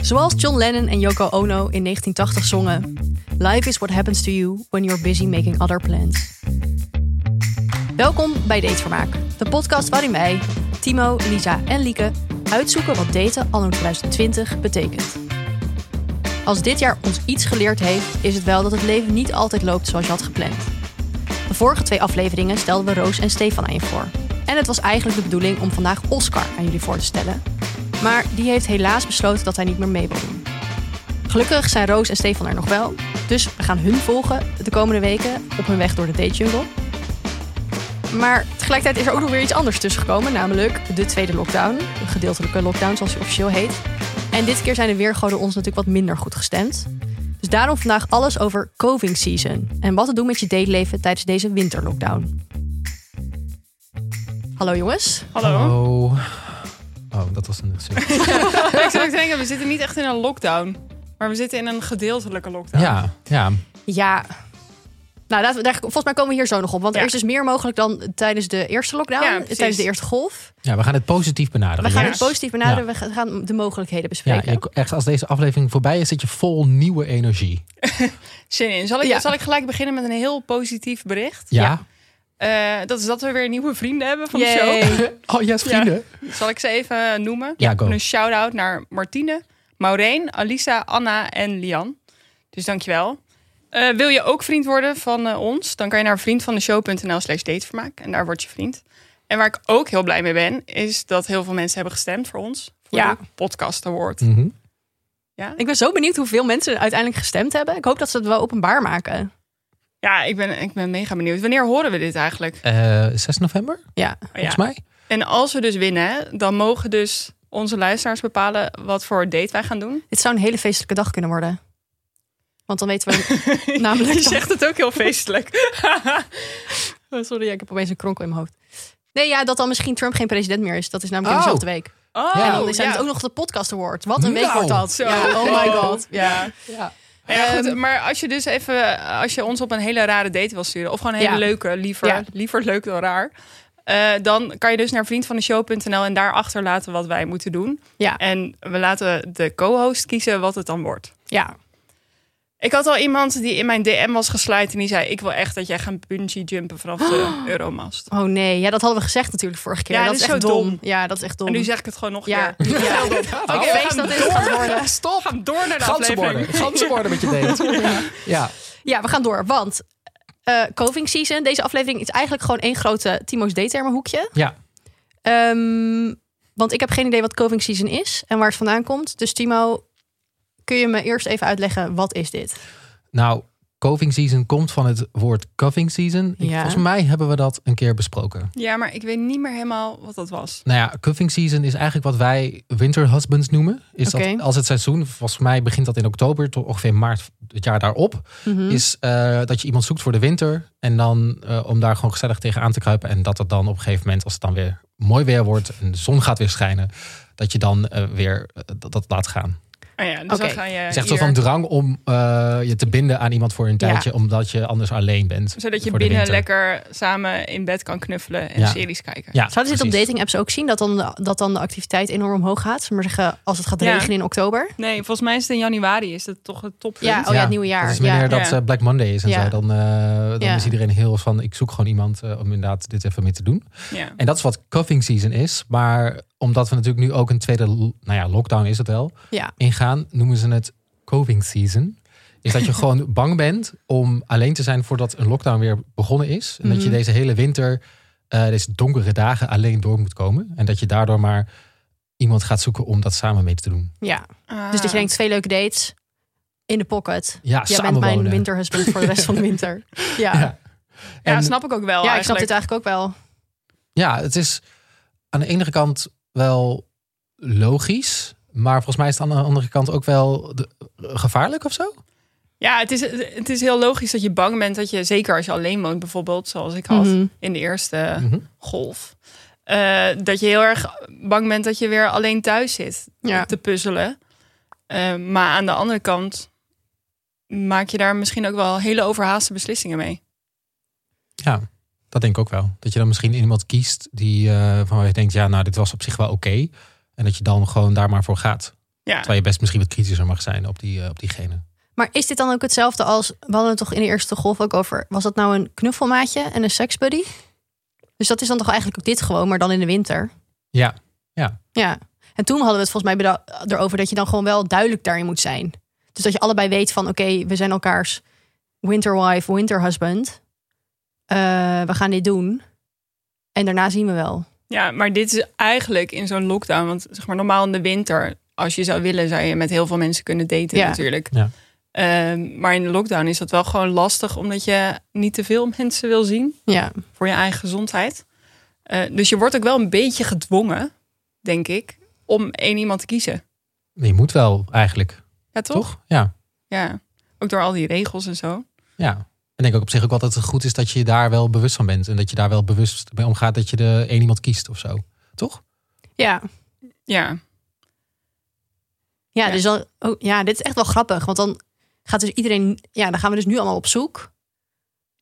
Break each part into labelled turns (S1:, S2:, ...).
S1: Zoals John Lennon en Yoko Ono in 1980 zongen: Life is what happens to you when you're busy making other plans. Welkom bij Datevermaak, de podcast waarin wij, Timo, Lisa en Lieke, uitzoeken wat daten anno 2020 betekent. Als dit jaar ons iets geleerd heeft, is het wel dat het leven niet altijd loopt zoals je had gepland. De vorige twee afleveringen stelden we Roos en Stefan aan je voor. En het was eigenlijk de bedoeling om vandaag Oscar aan jullie voor te stellen. Maar die heeft helaas besloten dat hij niet meer mee wil doen. Gelukkig zijn Roos en Stefan er nog wel. Dus we gaan hun volgen de komende weken op hun weg door de date jungle. Maar tegelijkertijd is er ook nog weer iets anders tussengekomen, namelijk de tweede lockdown. Een gedeeltelijke lockdown, zoals die officieel heet. En dit keer zijn de weergoden ons natuurlijk wat minder goed gestemd. Dus daarom vandaag alles over coving season en wat te doen met je dateleven tijdens deze winterlockdown. Hallo jongens.
S2: Hallo.
S3: Oh. Oh, dat was een gezicht.
S2: Ik zou ook denken, we zitten niet echt in een lockdown. Maar we zitten in een gedeeltelijke lockdown.
S3: ja, ja.
S1: Ja. Nou, laten we, daar, volgens mij komen we hier zo nog op. Want
S2: Ja.
S1: er is dus meer mogelijk dan tijdens de eerste lockdown, eh,
S2: Ja, precies.
S1: tijdens de eerste golf.
S3: Ja, we gaan het positief benaderen.
S1: We gaan
S3: ja.
S1: het positief benaderen, we ga- gaan de mogelijkheden
S3: Ja,
S1: bespreken.
S3: je- echt als deze aflevering voorbij is, zit je vol nieuwe energie.
S2: Zin in. Zal ik,
S1: Ja.
S2: zal ik gelijk beginnen met een heel positief bericht?
S3: Ja.
S2: Eh, dat is dat we weer nieuwe vrienden hebben van de
S1: Yay.
S2: show.
S3: Oh, yes, vrienden.
S2: Zal ik ze even eh, noemen?
S3: Ja,
S1: Oh.
S3: go.
S2: Een shout-out naar Martine, Maureen, Alisa, Anna en Lian. Dus dankjewel. Eh wil je ook vriend worden van eh, ons? Dan kan je naar vriendvandeshow.nl slash datevermaak. En daar word je vriend. En waar ik ook heel blij mee ben, is dat heel veel mensen hebben gestemd voor ons. Voor
S1: Ja.
S2: de podcast award.
S3: Mhm.
S2: Ja?
S1: Ik ben zo benieuwd hoeveel mensen uiteindelijk gestemd hebben. Ik hoop dat ze het wel openbaar maken.
S2: Ja, ik ben, ik ben mega benieuwd. Wanneer horen we dit eigenlijk?
S3: Eh, 6 november,
S1: Ja.
S3: volgens
S2: Ja.
S3: mij.
S2: En als we dus winnen, dan mogen dus onze luisteraars bepalen wat voor date wij gaan doen.
S1: Dit zou een hele feestelijke dag kunnen worden. Want dan weten we namelijk...
S2: Je zegt het ook heel feestelijk.
S1: Oh, Sorry, ja, ik heb opeens een kronkel in mijn hoofd. Nee, ja, dat dan misschien Trump geen president meer is. Dat is namelijk in
S3: Oh.
S1: dezelfde week.
S2: Oh,
S1: en
S3: Ja,
S1: dan zijn
S2: ja.
S1: het ook nog de podcast award. Wat een week
S3: Nou,
S1: wordt dat.
S2: zo.
S1: Ja, oh my god.
S2: Ja.
S3: Ja.
S2: Nou ja,
S1: Ehm,
S2: goed, maar als je dus even, als je ons op een hele rare date wil sturen, of gewoon een hele
S1: Ja.
S2: leuke, liever,
S1: Ja.
S2: liever leuk dan raar, eh, dan kan je dus naar vriendvandeshow.nl en daar achterlaten wat wij moeten doen.
S1: Ja,
S2: En we laten de co-host kiezen wat het dan wordt.
S1: ja.
S2: Ik had al iemand die in mijn DM was geslijt en die zei: Ik wil echt dat jij gaat bungee jumpen vanaf de Euromast.
S1: Oh nee, ja, dat hadden we gezegd natuurlijk vorige keer.
S2: Ja,
S1: dat
S2: dit
S1: is
S2: is
S1: echt
S2: zo
S1: dom.
S2: dom.
S1: Ja, dat is echt dom.
S2: En nu zeg ik het gewoon nog een
S1: ja,
S2: keer.
S1: ja.
S3: Oh,
S1: Oké, feest dat is het gaat worden.
S2: Stop, we gaan door naar de
S3: Ganzen worden.
S2: aflevering.
S3: Ganzen worden met je date. Ja.
S1: Ja, we gaan door. Want eh coving season, deze aflevering is eigenlijk gewoon één grote Timo's D-termenhoekje.
S3: Ja.
S1: Ehm, want ik heb geen idee wat coving season is en waar het vandaan komt. Dus Timo, kun je me eerst even uitleggen wat is dit?
S3: Nou, coving season komt van het woord coving season. Ik-
S1: Ja.
S3: Volgens mij hebben we dat een keer besproken.
S2: Ja, maar ik weet niet meer helemaal wat dat was.
S3: Nou ja, cuffing season is eigenlijk wat wij winter husbands noemen. Is
S1: Oké.
S3: dat als het seizoen, volgens mij begint dat in oktober tot ongeveer maart het jaar daarop,
S1: Mhm.
S3: is eh, dat je iemand zoekt voor de winter en dan eh, om daar gewoon gezellig tegen aan te kruipen en dat het dan op een gegeven moment, als het dan weer mooi weer wordt en de zon gaat weer schijnen, dat je dan eh, weer eh, dat, dat laat gaan.
S2: Oh ja, dus
S1: Oké.
S2: dan ga je
S3: Het is echt
S2: hier-
S3: zo van drang om eh, je te binden aan iemand voor een
S1: Ja.
S3: tijdje, omdat je anders alleen bent.
S2: zodat je
S3: voor de
S2: binnen
S3: winter.
S2: lekker samen in bed kan knuffelen en
S3: Ja.
S2: series kijken.
S3: Ja,
S1: Zouden ze dit op
S3: precies.
S1: dating apps ook zien? Dat dan, de- dat dan de activiteit enorm omhoog gaat? Zullen we maar zeggen, als het gaat
S2: Ja.
S1: regenen in oktober.
S2: Nee, volgens mij is het in januari is dat toch het toppunt.
S1: Ja, oh ja, het nieuwe jaar.
S3: Dat is meer
S1: Ja.
S3: dat
S2: Ja.
S3: eh, Black Monday is en
S1: Ja.
S3: zo. Dan, eh, dan
S1: Ja.
S3: is iedereen heel van, ik zoek gewoon iemand eh, om inderdaad dit even mee te doen.
S2: Ja.
S3: En dat is wat cuffing season is. Maar omdat we natuurlijk nu ook een tweede, l- nou ja, lockdown is het wel,
S1: Ja.
S3: ingaan, noemen ze het coving season. Is dat je gewoon bang bent om alleen te zijn voordat een lockdown weer begonnen is. En dat je
S1: Mhm.
S3: deze hele winter, eh, deze donkere dagen alleen door moet komen. En dat je daardoor maar iemand gaat zoeken om dat samen mee te doen.
S1: ja. Dus
S2: Ah.
S1: dat je denkt, twee leuke dates in de pocket.
S3: Ja,
S1: Jij bent mijn
S3: samenwonen.
S1: winterhusband voor de rest van de winter. Ja, ja,
S3: Ja.
S2: ja,
S3: En-
S2: snap ik ook wel.
S1: ik snap dit
S2: eigenlijk.
S1: eigenlijk ook wel.
S3: Ja, het is aan de ene kant wel logisch. Maar volgens mij is het aan de andere kant ook wel de- eh, gevaarlijk of zo.
S2: Ja, het is, het is heel logisch dat je bang bent dat je, zeker als je alleen woont, bijvoorbeeld, zoals ik had
S1: Mhm.
S2: in de eerste
S3: Mhm.
S2: golf, eh, dat je heel erg bang bent dat je weer alleen thuis zit
S1: Ja.
S2: te puzzelen. Eh, maar aan de andere kant maak je daar misschien ook wel hele overhaaste beslissingen mee.
S3: Ja, dat denk ik ook wel. Dat je dan misschien iemand kiest die eh, van waar je denkt, ja, nou, dit was op zich wel oké. En dat je dan gewoon daar maar voor gaat.
S2: Ja.
S3: Terwijl je best misschien wat kritischer mag zijn op, die, eh, op diegene.
S1: Maar is dit dan ook hetzelfde als, we hadden het toch in de eerste golf ook over, was dat nou een knuffelmaatje en een seksbuddy? Dus dat is dan toch eigenlijk ook dit gewoon, maar dan in de winter?
S3: Ja,
S1: Ja. En toen hadden we het volgens mij beda- erover dat je dan gewoon wel duidelijk daarin moet zijn. Dus dat je allebei weet van, oké, we zijn elkaars winterwife, winterhusband. Eh, we gaan dit doen. En daarna zien we wel.
S2: Ja, maar dit is eigenlijk in zo'n lockdown. Want zeg maar, normaal in de winter, als je zou willen, zou je met heel veel mensen kunnen daten
S1: Ja.
S2: natuurlijk.
S3: Ja.
S2: Ehm, maar in de lockdown is dat wel gewoon lastig, omdat je niet te veel mensen wil zien
S1: Ja.
S2: voor je eigen gezondheid. Eh, dus je wordt ook wel een beetje gedwongen, denk ik, om één iemand te kiezen.
S3: je moet wel eigenlijk,
S2: Ja,
S3: toch?
S2: toch?
S3: Ja,
S2: Ja. Ook door al die regels en zo.
S3: ja. En ik denk ook op zich ook wel dat het goed is dat je je daar wel bewust van bent. En dat je daar wel bewust mee omgaat dat je de één iemand kiest of zo. Toch?
S1: Ja.
S2: Ja.
S1: Ja,
S2: Ja.
S1: dus dan, oh, ja, dit is echt wel grappig. Want dan gaat dus iedereen, ja, dan gaan we dus nu allemaal op zoek.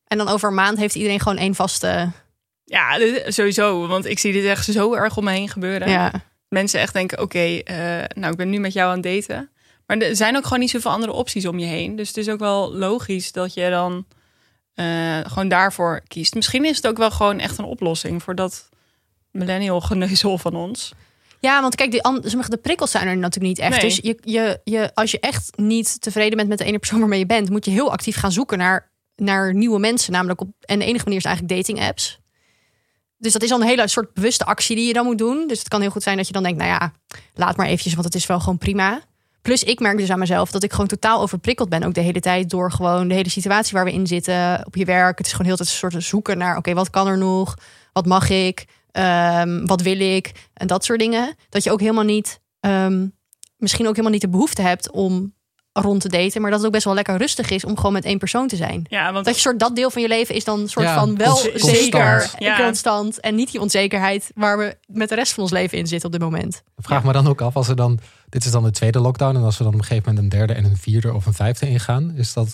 S1: En dan over een maand heeft iedereen gewoon één vaste.
S2: Ja, dit- sowieso. Want ik zie dit echt zo erg om me heen gebeuren.
S1: Ja.
S2: mensen echt denken: oké, eh, nou, ik ben nu met jou aan het daten. Maar er zijn ook gewoon niet zoveel andere opties om je heen. Dus het is ook wel logisch dat je dan eh, gewoon daarvoor kiest. Misschien is het ook wel gewoon echt een oplossing voor dat millennial geneuzel van ons.
S1: Ja, want kijk, die an- sommige de prikkels zijn er natuurlijk niet echt.
S2: Nee.
S1: Dus je, je, je, als je echt niet tevreden bent met de ene persoon waarmee je bent, moet je heel actief gaan zoeken naar, naar nieuwe mensen. Namelijk op, en de enige manier is eigenlijk dating apps. Dus dat is al een hele soort bewuste actie die je dan moet doen. Dus het kan heel goed zijn dat je dan denkt, nou ja, laat maar eventjes, want het is wel gewoon prima. Plus ik merk dus aan mezelf dat ik gewoon totaal overprikkeld ben ook de hele tijd door gewoon de hele situatie waar we in zitten op je werk. Het is gewoon heel de tijd een soort zoeken naar, oké, wat kan er nog? Wat mag ik? Ehm, wat wil ik? En dat soort dingen. Dat je ook helemaal niet, ehm, misschien ook helemaal niet de behoefte hebt om rond te daten, maar dat het ook best wel lekker rustig is om gewoon met één persoon te zijn.
S2: Ja, want
S1: Dat je soort dat deel van je leven is dan soort
S3: Ja,
S1: van wel
S3: cons- constant.
S1: zeker en
S2: Ja.
S1: constant en niet die onzekerheid waar we met de rest van ons leven in zitten op dit moment.
S3: Ik Vraag me dan ook af, als er dan, dit is dan de tweede lockdown. En als we dan op een gegeven moment een derde en een vierde of een vijfde ingaan. Is dat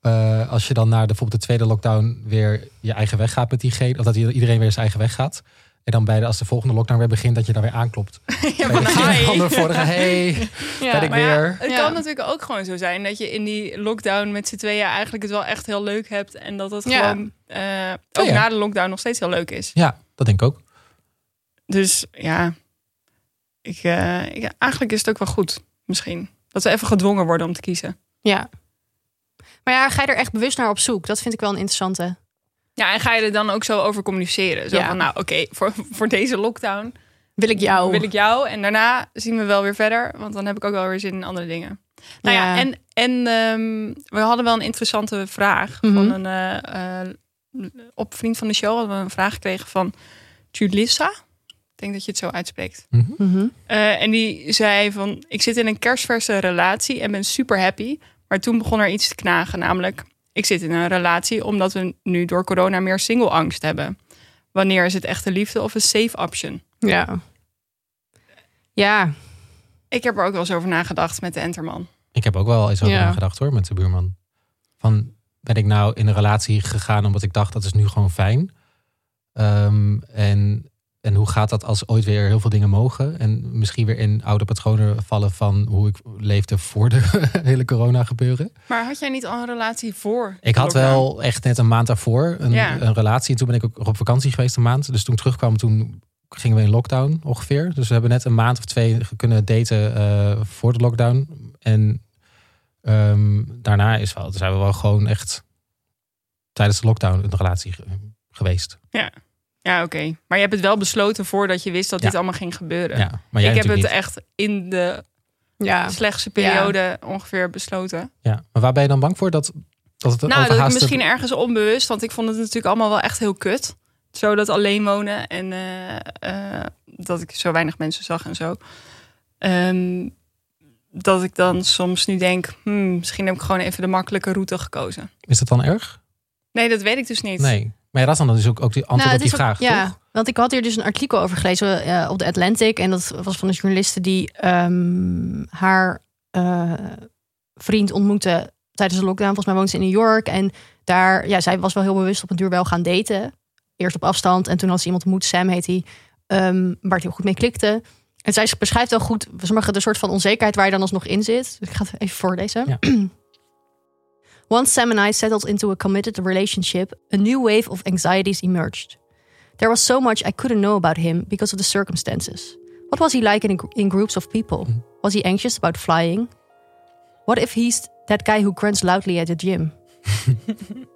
S3: eh, als je dan naar de, bijvoorbeeld de tweede lockdown weer je eigen weg gaat met diegene. Of dat iedereen weer zijn eigen weg gaat. En dan bij de, als de volgende lockdown weer begint, dat je daar weer aanklopt.
S2: ja,
S3: Bij
S2: van,
S3: degene
S2: hi.
S3: van de vorige, hey, ben ik
S2: Maar ja,
S3: weer.
S2: het
S1: Ja.
S2: kan natuurlijk ook gewoon zo zijn dat je in die lockdown met z'n tweeën eigenlijk het wel echt heel leuk hebt. En dat het
S1: Ja.
S2: gewoon eh, ook
S3: Oh ja.
S2: na de lockdown nog steeds heel leuk is.
S3: Ja, dat denk ik ook.
S2: Dus ja, ik, eh, ik- eigenlijk is het ook wel goed, misschien. Dat we even gedwongen worden om te kiezen.
S1: Ja. Maar ja, ga je er echt bewust naar op zoek? Dat vind ik wel een interessante.
S2: Ja, en ga je er dan ook zo over communiceren? Zo
S1: Ja.
S2: van, nou oké, voor, voor deze lockdown
S1: Wil ik jou?
S2: wil ik jou. En daarna zien we wel weer verder, want dan heb ik ook wel weer zin in andere dingen. Nou ja,
S1: Ja.
S2: en, en ehm, we hadden wel een interessante vraag van
S1: Mhm.
S2: een... eh, eh, op Vriend van de Show hadden we een vraag gekregen van Julissa. Ik denk dat je het zo uitspreekt.
S1: Mhm.
S2: Eh, en die zei van, ik zit in een kerstverse relatie en ben super happy. Maar toen begon er iets te knagen, namelijk... Ik zit in een relatie omdat we nu door corona meer single-angst hebben. Wanneer is het echte liefde of een safe option?
S1: Ja. Ja.
S2: Ik heb er ook wel eens over nagedacht met de Enterman.
S3: Ik heb ook wel eens over
S1: Ja.
S3: nagedacht hoor, met de buurman. Van, ben ik nou in een relatie gegaan omdat ik dacht dat is nu gewoon fijn? Ehm, en, en hoe gaat dat als ooit weer heel veel dingen mogen? En misschien weer in oude patronen vallen van hoe ik leefde voor de hele corona gebeuren.
S2: Maar had jij niet al een relatie voor?
S3: Ik had
S2: lockdown?
S3: wel echt net een maand daarvoor een,
S2: Ja.
S3: een relatie. En toen ben ik ook op vakantie geweest een maand. Dus toen ik terugkwam, toen gingen we in lockdown ongeveer. Dus we hebben net een maand of twee kunnen daten eh, voor de lockdown. En ehm, daarna is wel, zijn we wel gewoon echt tijdens de lockdown een relatie ge- geweest.
S2: Ja, oké. Maar je hebt het wel besloten voordat je wist dat
S3: Ja.
S2: dit allemaal ging gebeuren.
S3: Ja, maar jij
S2: ik heb het
S3: natuurlijk niet.
S2: echt in de
S1: Ja.
S2: slechtste periode ongeveer besloten.
S3: Ja. Maar waar ben je dan bang voor? Dat, dat het een
S2: Nou, dat ik
S3: overhaaste-
S2: misschien ergens onbewust, want ik vond het natuurlijk allemaal wel echt heel kut. Zo dat alleen wonen en eh, eh, dat ik zo weinig mensen zag en zo. Ehm, dat ik dan soms nu denk, hmm, misschien heb ik gewoon even de makkelijke route gekozen.
S3: Is dat dan erg?
S2: Nee, dat weet ik dus niet.
S3: Nee. Maar ja, dat is dan dus ook, ook die antwoord
S1: Nou,
S3: op
S1: het
S3: die
S1: is ook-
S3: vraag,
S1: ja,
S3: toch?
S1: want ik had hier dus een artikel over gelezen eh, op de Atlantic. En dat was van een journaliste die ehm, haar eh, vriend ontmoette tijdens de lockdown. Volgens mij woonde ze in New York. En daar, ja, zij was wel heel bewust op een duur wel gaan daten. Eerst op afstand en toen had ze iemand ontmoet, Sam heet hij, ehm, waar het heel goed mee klikte. En zij beschrijft wel goed sommige de soort van onzekerheid waar je dan alsnog in zit. Dus ik ga het even voorlezen. Once Sam and I settled into a committed relationship, a new wave of anxieties emerged. There was so much I couldn't know about him because of the circumstances. What was he like in, in groups of people? Was he anxious about flying? What if he's that guy who grunts loudly at the gym?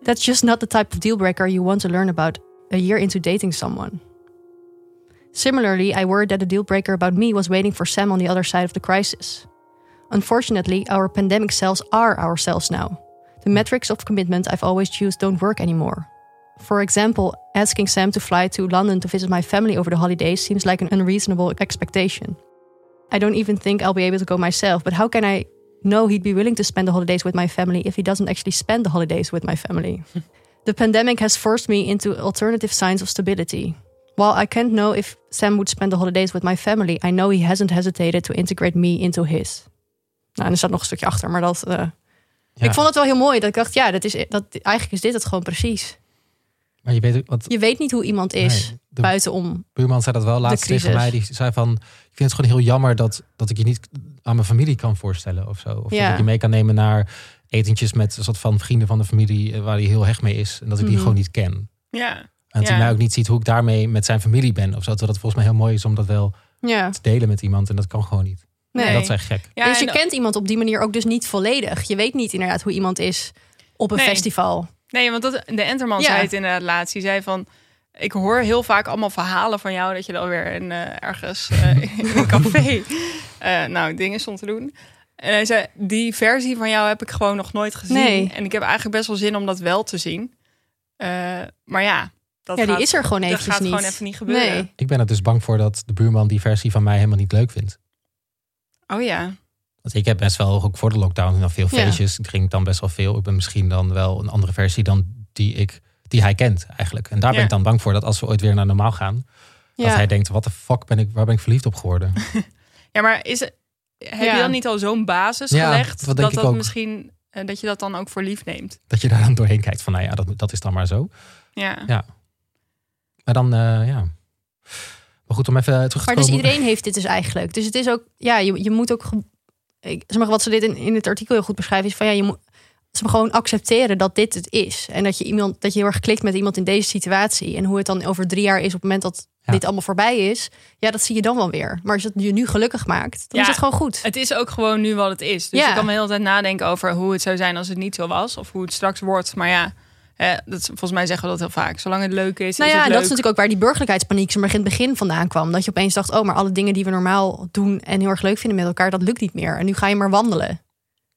S1: That's just not the type of deal breaker you want to learn about a year into dating someone. Similarly, I worried that the deal breaker about me was waiting for Sam on the other side of the crisis. Unfortunately, our pandemic selves are ourselves now. The metrics of commitment I've always used don't work anymore. For example, asking Sam to fly to London to visit my family over the holidays seems like an unreasonable expectation. I don't even think I'll be able to go myself, but how can I know he'd be willing to spend the holidays with my family if he doesn't actually spend the holidays with my family? the pandemic has forced me into alternative signs of stability. While I can't know if Sam would spend the holidays with my family, I know he hasn't hesitated to integrate me into his. Nou, en er staat nog een stukje achter, maar dat. eh,
S3: Ja.
S1: Ik vond het wel heel mooi dat ik dacht, ja, dat is, dat, eigenlijk is dit het gewoon precies.
S3: Maar je weet ook wat.
S1: Je weet niet hoe iemand is
S3: Nee, de
S1: buitenom.
S3: buurman zei dat wel laatst tegen
S1: crisis.
S3: mij. Die zei van, ik vind het gewoon heel jammer dat, dat ik je niet aan mijn familie kan voorstellen of zo. Of
S1: Ja.
S3: dat ik je mee kan nemen naar etentjes met een soort van vrienden van de familie eh, waar hij heel hecht mee is. En dat ik die
S1: Mhm.
S3: gewoon niet ken.
S2: Ja.
S3: En dat hij
S2: Ja.
S3: mij ook niet ziet hoe ik daarmee met zijn familie ben. Of zo. Dat het volgens mij heel mooi is om dat wel
S1: Ja,
S3: te delen met iemand. En dat kan gewoon niet.
S1: nee.
S2: Nee.
S3: Dat is echt gek.
S2: ja
S1: dus je
S2: en-
S1: kent iemand op die manier ook dus niet volledig. Je weet niet inderdaad hoe iemand is op een
S2: Nee.
S1: festival.
S2: Nee, want dat, de Enterman
S1: Ja.
S2: zei het inderdaad laatst. Die zei van... Ik hoor heel vaak allemaal verhalen van jou... dat je dan weer in, eh, ergens eh, in een café... eh, nou, dingen stond te doen. En hij zei, die versie van jou heb ik gewoon nog nooit gezien.
S1: Nee.
S2: En ik heb eigenlijk best wel zin om dat wel te zien. Eh, maar ja, dat
S1: ja, die
S2: gaat,
S1: is er gewoon
S2: dat
S1: eventjes
S2: gaat
S1: niet.
S2: gewoon even niet gebeuren.
S1: Nee.
S3: Ik ben er dus bang voor dat de buurman die versie van mij helemaal niet leuk vindt.
S2: Oh ja.
S3: Want ik heb best wel, ook voor de lockdown, nog veel
S1: Ja.
S3: feestjes. Ik ging dan best wel veel. Ik ben misschien dan wel een andere versie dan die, ik, die hij kent eigenlijk. En daar ben
S2: Ja.
S3: ik dan bang voor dat als we ooit weer naar normaal gaan...
S1: Ja.
S3: Dat hij denkt, wat de fuck ben ik, waar ben ik verliefd op geworden?
S2: Ja, maar is, het- heb
S1: Ja.
S2: je dan niet al zo'n basis
S3: Ja,
S2: gelegd...
S3: dat denk
S2: dat
S3: ik
S2: dat
S3: ook.
S2: misschien... eh, dat je dat dan ook voor lief neemt?
S3: Dat je daar dan doorheen kijkt van, nou ja, dat, dat is dan maar zo.
S2: Ja.
S3: Maar dan, eh, ja. Maar goed, om even terug te
S1: Maar
S3: komen.
S1: dus iedereen heeft dit dus eigenlijk. Dus het is ook, ja, je, je moet ook. ge- Ik, zeg maar, wat ze dit in, in het artikel heel goed beschrijven, is van ja, je moet ze maar gewoon accepteren dat dit het is. En dat je iemand, dat je heel erg klikt met iemand in deze situatie. En hoe het dan over drie jaar is op het moment dat
S3: Ja.
S1: dit allemaal voorbij is. Ja, dat zie je dan wel weer. Maar als het je nu gelukkig maakt, dan
S2: Ja.
S1: is het gewoon goed.
S2: Het is ook gewoon nu wat het is. Dus
S1: Ja.
S2: je kan de hele tijd nadenken over hoe het zou zijn als het niet zo was. Of hoe het straks wordt. Maar ja, hè, dat, is- volgens mij zeggen we dat heel vaak. Zolang het leuk is,
S1: Nou
S2: is
S1: ja,
S2: het
S1: en
S2: leuk.
S1: dat is natuurlijk ook waar die burgerlijkheidspaniek zeg maar, in het begin vandaan kwam. Dat je opeens dacht, oh, maar alle dingen die we normaal doen en heel erg leuk vinden met elkaar, dat lukt niet meer. En nu ga je maar wandelen.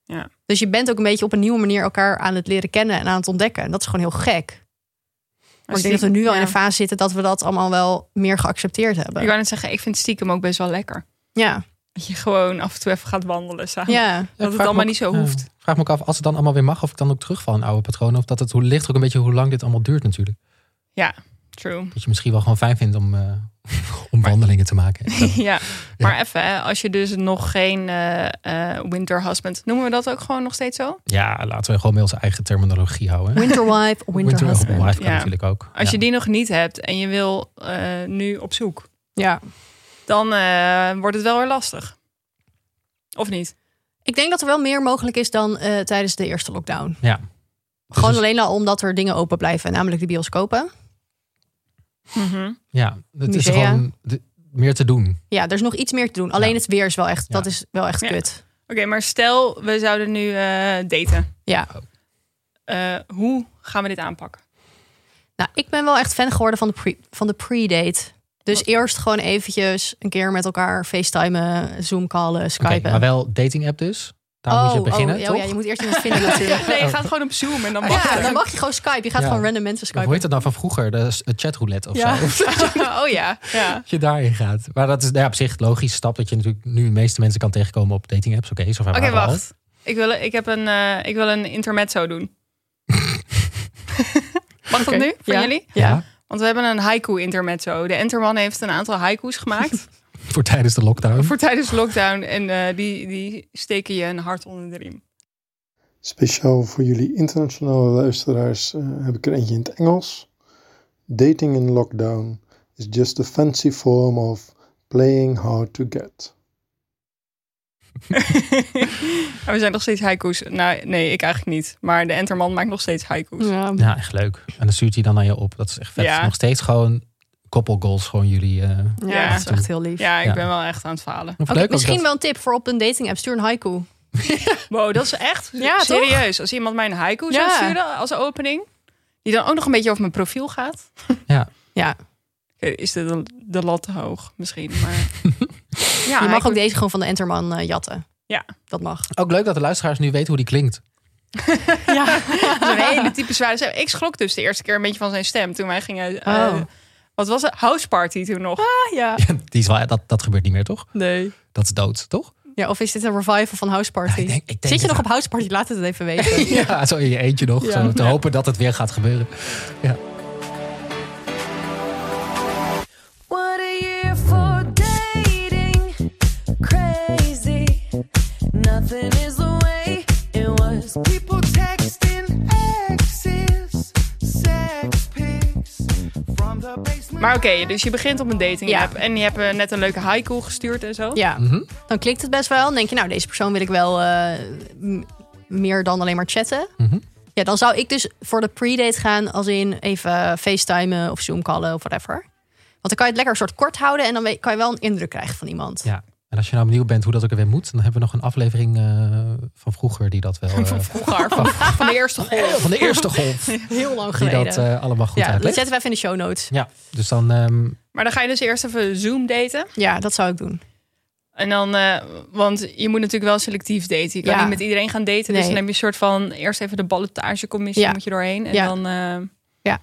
S2: Ja.
S1: Dus je bent ook een beetje op een nieuwe manier elkaar aan het leren kennen en aan het ontdekken. En dat is gewoon heel gek. Maar ik
S2: Stiekem-
S1: denk dat we nu wel in
S2: ja.
S1: een fase zitten dat we dat allemaal wel meer geaccepteerd hebben.
S2: Ik wou net zeggen, ik vind stiekem ook best wel lekker.
S1: Ja,
S2: Dat je gewoon af en toe even gaat wandelen samen.
S1: ja.
S3: Ja,
S2: Dat
S3: ik
S2: het
S3: vraag
S2: allemaal
S3: me
S2: niet zo
S3: ook- ja,
S2: hoeft.
S3: ik vraag me ook af, als het dan allemaal weer mag, of ik dan ook terugval in oude patronen. Of dat het hoe ligt er ook een beetje hoe lang dit allemaal duurt natuurlijk.
S2: True.
S3: Dat je misschien wel gewoon fijn vindt om, eh, om wandelingen te maken. En dat-
S2: ja. Maar even, hè, als je dus nog geen eh, eh, winter husband... Noemen we dat ook gewoon nog steeds zo?
S3: ja, laten we gewoon met onze eigen terminologie houden.
S1: Winter wife, winter, husband.
S3: wife kan
S2: ja.
S3: natuurlijk ook.
S2: Als
S3: Ja.
S2: je die nog niet hebt en je wil eh, nu op zoek...
S1: Ja.
S2: dan eh, wordt het wel weer lastig. Of niet?
S1: Ik denk dat er wel meer mogelijk is dan eh, tijdens de eerste lockdown.
S3: Ja.
S1: Gewoon
S3: Dus-
S1: alleen al omdat er dingen open blijven, namelijk de bioscopen. Mhm.
S3: Ja, het is
S1: Musea.
S3: gewoon de- meer te doen.
S1: Ja, er is nog iets meer te doen. Alleen
S3: Ja.
S1: het weer is wel echt,
S3: Ja.
S1: dat is wel echt
S2: Ja.
S1: kut.
S2: Oké, maar stel we zouden nu eh, daten.
S1: Ja.
S2: Eh, hoe gaan we dit aanpakken?
S1: Nou, ik ben wel echt fan geworden van de, pre, van de pre-date. Dus eerst gewoon eventjes een keer met elkaar facetimen, zoomcallen,
S3: Oké,
S1: skypen.
S3: maar wel dating app dus. Daar moet je beginnen,
S1: oh,
S3: toch?
S1: ja, je moet eerst iemand vinden natuurlijk.
S2: Nee, je gaat gewoon op Zoom en dan wachten.
S1: Oh. Ja, dan mag je gewoon Skype. Je gaat
S3: Ja.
S1: gewoon random mensen
S3: Of Hoe
S1: skypen.
S3: heet dat nou van vroeger? De s- het chatroulette of
S1: Ja.
S3: zo. Of
S2: oh ja. ja.
S3: dat je daarin gaat. Maar dat is nou ja, op zich logisch stap dat je natuurlijk nu de meeste mensen kan tegenkomen op dating apps. Oké, zover
S2: Oké,
S3: waren we al.
S2: wacht. Ik wil, ik, heb een, eh, ik wil een intermezzo doen. mag dat
S1: Oké,
S2: nu voor
S1: ja.
S2: jullie?
S3: Ja.
S2: Want we hebben een haiku intermezzo. De Enterman heeft een aantal haiku's gemaakt
S3: voor tijdens de
S1: Hm.
S3: lockdown.
S2: voor tijdens lockdown. En eh, die, die steken je een hart onder de riem.
S4: Speciaal voor jullie internationale luisteraars eh, heb ik er eentje in het Engels. Dating in lockdown is just a fancy form of Playing Hard to Get.
S2: En we zijn nog steeds haiku's. Nou, nee, ik eigenlijk niet. Maar de Enterman maakt nog steeds haiku's.
S1: Ja.
S3: Ja, echt leuk. En dan stuurt hij dan aan je op. Dat is echt vet.
S2: Ja.
S3: Nog steeds gewoon koppelgoals gewoon jullie... eh
S1: Ja,
S2: Ja.
S1: dat is echt heel lief.
S2: Ja, ik
S3: Ja.
S2: ben wel echt aan het falen.
S3: Of
S1: Oké,
S3: leuk ook
S1: misschien
S3: dat-
S1: wel een tip voor op een dating app. Stuur een haiku.
S2: Wow, dat is echt
S1: Ja, toch?
S2: serieus. Als iemand mij een haiku zou
S1: Ja.
S2: sturen als opening, die dan ook nog een beetje over mijn profiel gaat,
S1: Ja.
S2: Oké, is de, de lat te hoog misschien. Maar... ja,
S1: je mag
S2: haiku-
S1: ook deze gewoon van de Enterman eh, jatten.
S2: Ja.
S1: Dat mag.
S3: Ook leuk dat de luisteraars nu weten hoe die klinkt.
S1: Ja.
S2: Dat is een hele type zware stem. Ik schrok dus de eerste keer een beetje van zijn stem toen wij gingen. eh,
S1: Oh. Ah.
S2: wat was het? House party toen nog.
S1: ja.
S3: Die is wel, dat, dat gebeurt niet meer, toch?
S1: Nee.
S3: Dat is dood, toch?
S1: Ja, of is dit een revival van House Party?
S3: Ja, ik denk- ik denk
S1: Zit je
S3: het
S1: nog
S3: wel.
S1: op House Party? Laat het even weten.
S3: Ja, zo in je eentje nog.
S1: Ja.
S3: Zo, te hopen dat het weer gaat gebeuren.
S5: What a year for dating. Crazy. Nothing is the way it was.
S6: People texting exes, sex pics from the basement.
S2: Maar oké, dus je begint op een dating
S1: Ja.
S2: app en die hebben net een leuke haiku gestuurd en zo.
S1: ja.
S3: Mhm.
S1: Dan klikt het best wel. Dan denk je, nou, deze persoon wil ik wel eh, m- meer dan alleen maar chatten.
S3: Mhm.
S1: Ja, dan zou ik dus voor de pre-date gaan als in even facetimen of zoomcallen of whatever. Want dan kan je het lekker een soort kort houden en dan weet- kan je wel een indruk krijgen van iemand.
S3: Ja. En als je nou benieuwd bent hoe dat ook weer moet, dan hebben we nog een aflevering eh, van vroeger die dat wel. eh,
S2: Vroeger, van, van de eerste golf.
S3: van de eerste golf.
S1: Heel lang
S3: die
S1: geleden.
S3: dat eh, allemaal goed
S1: ja, dat
S3: uitlegt.
S1: zetten we even in de show notes.
S3: Ja, dus dan. ehm,
S2: Maar dan ga je dus eerst even Zoom daten.
S1: Ja, dat zou ik doen.
S2: En dan, eh, want je moet natuurlijk wel selectief daten. Je kan
S1: Ja.
S2: niet met iedereen gaan daten. Dus
S1: Nee.
S2: dan heb je een soort van eerst even de ballotagecommissie
S1: Ja.
S2: moet je doorheen. En
S1: Ja.
S2: dan. eh,
S1: Ja.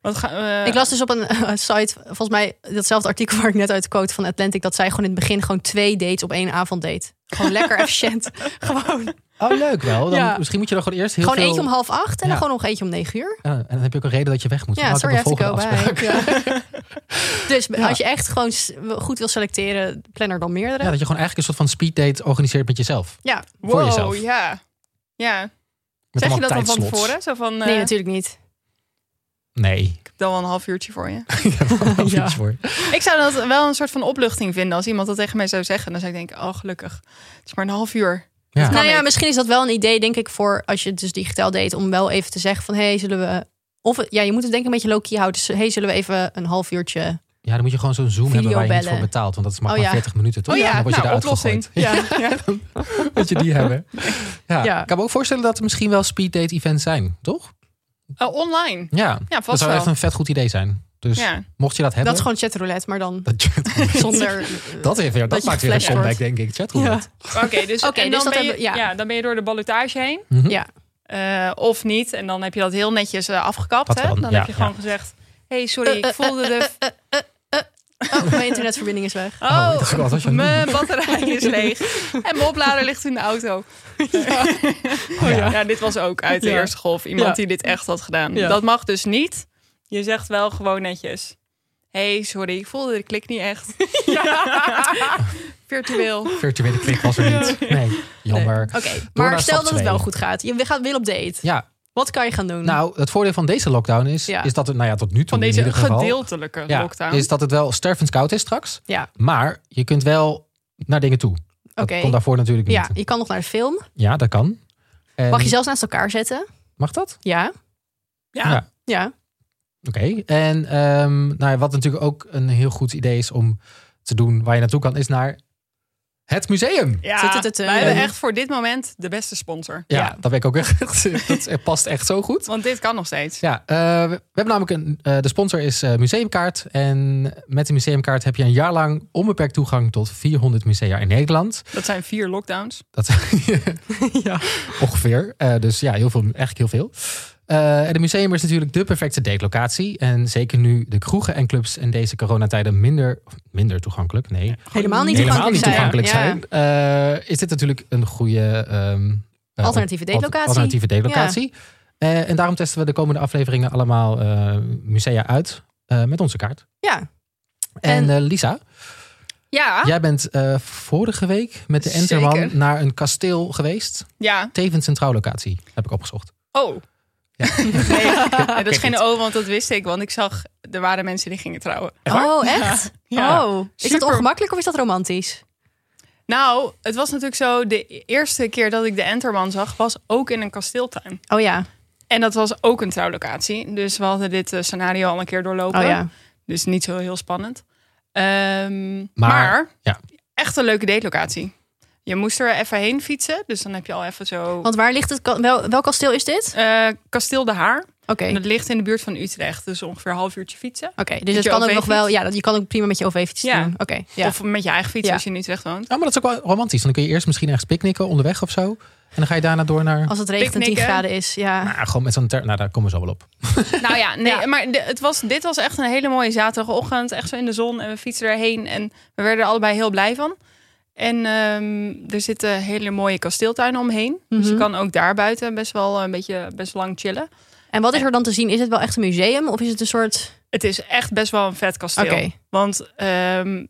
S2: Wat ga, eh,
S1: ik las dus op een eh, site, volgens mij datzelfde artikel waar ik net uit quote van Atlantic, dat zij gewoon in het begin gewoon twee dates op één avond deed. Gewoon lekker efficiënt. gewoon
S3: Oh, leuk wel. Dan,
S1: Ja.
S3: Misschien moet je dan gewoon eerst heel
S1: gewoon
S3: veel...
S1: eentje om half acht en
S3: Ja.
S1: dan gewoon nog eentje om negen uur.
S3: Ja, en dan heb je ook een reden dat je weg moet.
S1: Ja,
S3: Oh, ik
S1: sorry, I
S3: heb
S1: have
S3: een
S1: to go
S3: volgende afspraak.
S1: by. Ja. Dus als je echt gewoon s- goed wil selecteren, plan er dan meerdere.
S3: Ja, dat je gewoon eigenlijk een soort van speeddate organiseert met jezelf.
S1: Ja,
S2: wow,
S3: voor jezelf.
S2: Ja. ja.
S3: Met
S2: Zeg je
S3: allemaal
S2: dat dan van
S3: tijdslots.
S2: tevoren? Zo van, eh,
S1: nee, natuurlijk niet.
S3: Nee.
S2: ik heb dan wel een half uurtje voor je.
S3: ja. voor.
S2: ik zou dat wel een soort van opluchting vinden als iemand dat tegen mij zou zeggen. Dan zou ik denken, oh gelukkig, het is maar een half uur.
S3: Ja.
S1: nou ja,
S2: ik.
S1: misschien is dat wel een idee, denk ik, voor als je het dus digitaal deed, om wel even te zeggen van, hé, hey, zullen we... Of, ja, je moet het denk ik een beetje low-key houden. Dus, hé, hey, zullen we even een half uurtje...
S3: ja, dan moet je gewoon zo'n Zoom hebben waar je niet voor
S1: Videobellen.
S3: betaalt. Want dat is maar,
S1: Oh,
S3: maar
S1: ja.
S3: 40 minuten, toch?
S2: Oh ja,
S3: Dan word je
S2: nou,
S3: eruit
S2: oplossing.
S3: gegooid.
S2: Ja.
S3: Dat je die hebben. Ja.
S1: Ja.
S3: Ik kan me ook voorstellen dat er misschien wel speeddate events zijn, toch?
S2: Eh, online.
S3: Ja.
S2: Ja,
S3: dat
S2: vast
S3: zou
S2: wel.
S3: echt een vet goed idee zijn. Dus
S2: Ja.
S3: mocht je dat hebben...
S1: Dat is gewoon chatroulette, maar dan
S3: Dat je-
S1: zonder...
S3: dat, heeft weer, dat,
S1: Dat je
S3: maakt weer een
S1: geflasht
S3: comeback,
S1: wordt.
S3: denk ik. Chatroulette.
S2: Oké, dus,
S1: Oké,
S2: en
S1: dus
S2: dan,
S1: dat
S2: ben je,
S1: hebben-
S2: ja.
S1: ja.
S2: dan ben je door de ballotage heen.
S3: Mhm.
S1: Ja,
S2: Eh, of niet. En dan heb je dat heel netjes eh, afgekapt.
S3: Dat
S2: hè?
S3: wel,
S2: Dan
S3: ja,
S2: heb je gewoon gezegd: hey, sorry,
S1: Eh,
S2: ik voelde de.
S1: oh, mijn internetverbinding is weg.
S3: Oh, ik dacht ook al, wat was je aan het
S2: mijn batterij is leeg. En mijn oplader ligt in de auto.
S1: Oh
S2: Ja,
S3: Oh, ja.
S2: dit was ook uit de
S1: Ja.
S2: eerste golf. Iemand
S1: Ja.
S2: die dit echt had gedaan.
S1: Ja.
S2: Dat mag dus niet. Je zegt wel gewoon netjes: hey, sorry, ik voelde de klik niet echt. Virtueel.
S3: Virtuele klik was er niet. Nee, jammer.
S1: Oké,
S3: Door naar
S1: maar stel
S3: stap
S1: dat het wel
S3: twee.
S1: goed gaat. Je gaat wil op date.
S3: Ja,
S1: Wat kan je gaan doen?
S3: nou, het voordeel van deze lockdown is,
S1: Ja.
S3: is dat het, nou ja, tot nu toe
S2: Van
S3: in
S2: deze
S3: ieder geval,
S2: gedeeltelijke
S3: ja,
S2: lockdown.
S3: is dat het wel stervenskoud is straks.
S1: ja,
S3: Maar je kunt wel naar dingen toe.
S1: oké.
S3: Dat komt daarvoor natuurlijk niet.
S1: Ja,
S3: Ja,
S1: je kan nog naar de film.
S3: dat kan. En-
S1: Mag je zelfs naast elkaar zetten?
S3: mag dat?
S1: Ja.
S2: Ja.
S3: Ja.
S1: Ja.
S3: Oké. En ehm, nou ja, wat natuurlijk ook een heel goed idee is om te doen waar je naartoe kan, is naar het museum.
S1: Tut,
S2: Ja,
S1: tut, tut, tut.
S2: wij hebben echt voor dit moment de beste sponsor.
S3: Ja,
S1: Ja.
S3: dat ben ik ook echt. Dat past echt zo goed.
S2: Want dit kan nog steeds.
S3: Ja, eh, we we hebben namelijk een. eh, de sponsor is eh, Museumkaart. En met de Museumkaart heb je een jaar lang onbeperkt toegang tot 400 musea in Nederland.
S2: Dat zijn vier lockdowns.
S3: Dat ja. ongeveer. Eh, dus ja, heel veel, eigenlijk heel veel. Eh, en het museum is natuurlijk de perfecte datelocatie. En zeker nu de kroegen en clubs in deze coronatijden minder, of minder toegankelijk, nee,
S1: Helemaal niet
S3: helemaal niet
S1: toegankelijk
S3: toegankelijk
S1: zijn.
S3: zijn, eh, is dit natuurlijk een goede ehm, eh,
S1: Alternatieve
S3: al-
S1: datelocatie.
S3: Alternatieve datelocatie. Eh, en daarom testen we de komende afleveringen allemaal eh, musea uit eh, met onze kaart.
S1: Ja.
S3: En,
S1: En- Ah.
S3: eh, Lisa,
S2: Ja.
S3: jij bent eh, vorige week met de Enterman
S2: Zeker.
S3: naar een kasteel geweest
S2: Ja.
S3: tevens een trouwlocatie. Heb ik opgezocht.
S2: Oh. Nee, dat is geen O, want dat wist ik. Want ik zag er waren mensen die gingen trouwen.
S1: oh, echt?
S2: Ja.
S1: Oh. Is dat
S2: Super.
S1: ongemakkelijk of is dat romantisch?
S2: Nou, het was natuurlijk zo, de eerste keer dat ik de Enterman zag, was ook in een kasteeltuin.
S1: Oh ja.
S2: En dat was ook een trouwlocatie. Dus we hadden dit eh, scenario al een keer doorlopen.
S1: Oh ja.
S2: Dus niet zo heel spannend. Ehm, maar
S3: ja.
S2: echt een leuke datelocatie. Je moest er even heen fietsen. Dus dan heb je al even zo...
S1: Want waar ligt het? ka- Wel, welk kasteel is dit?
S2: Eh, Kasteel de Haar.
S1: Oké.
S2: En dat ligt in de buurt van Utrecht. Dus ongeveer een half uurtje fietsen.
S1: Oké, dus het
S2: je
S1: kan ook nog
S2: OV-fiets?
S1: wel. Ja, dat, je kan ook prima met je OV-fiets
S2: Ja.
S1: doen. Oké, ja.
S2: Of met je eigen fiets
S1: Ja.
S2: als je in Utrecht woont.
S3: maar dat is ook wel romantisch. Dan kun je eerst misschien ergens picknicken onderweg of zo. En dan ga je daarna door naar...
S1: als het regent en 10
S2: picknicken.
S1: graden is. Ja.
S3: Ah, gewoon met zo'n... Ter... Nou, daar komen we zo wel op.
S2: Nou ja, nee, maar de- het was, dit was echt een hele mooie zaterdagochtend. Echt zo in de zon en we fietsen erheen. En we werden er allebei heel blij van. En ehm, er zitten hele mooie kasteeltuinen omheen. Dus je
S1: Mhm.
S2: kan ook daar buiten best wel een beetje best lang chillen.
S1: En wat is er dan te zien? Is het wel echt een museum of is het een soort.
S2: Het is echt best wel een vet kasteel.
S1: Oké,
S2: Want ehm,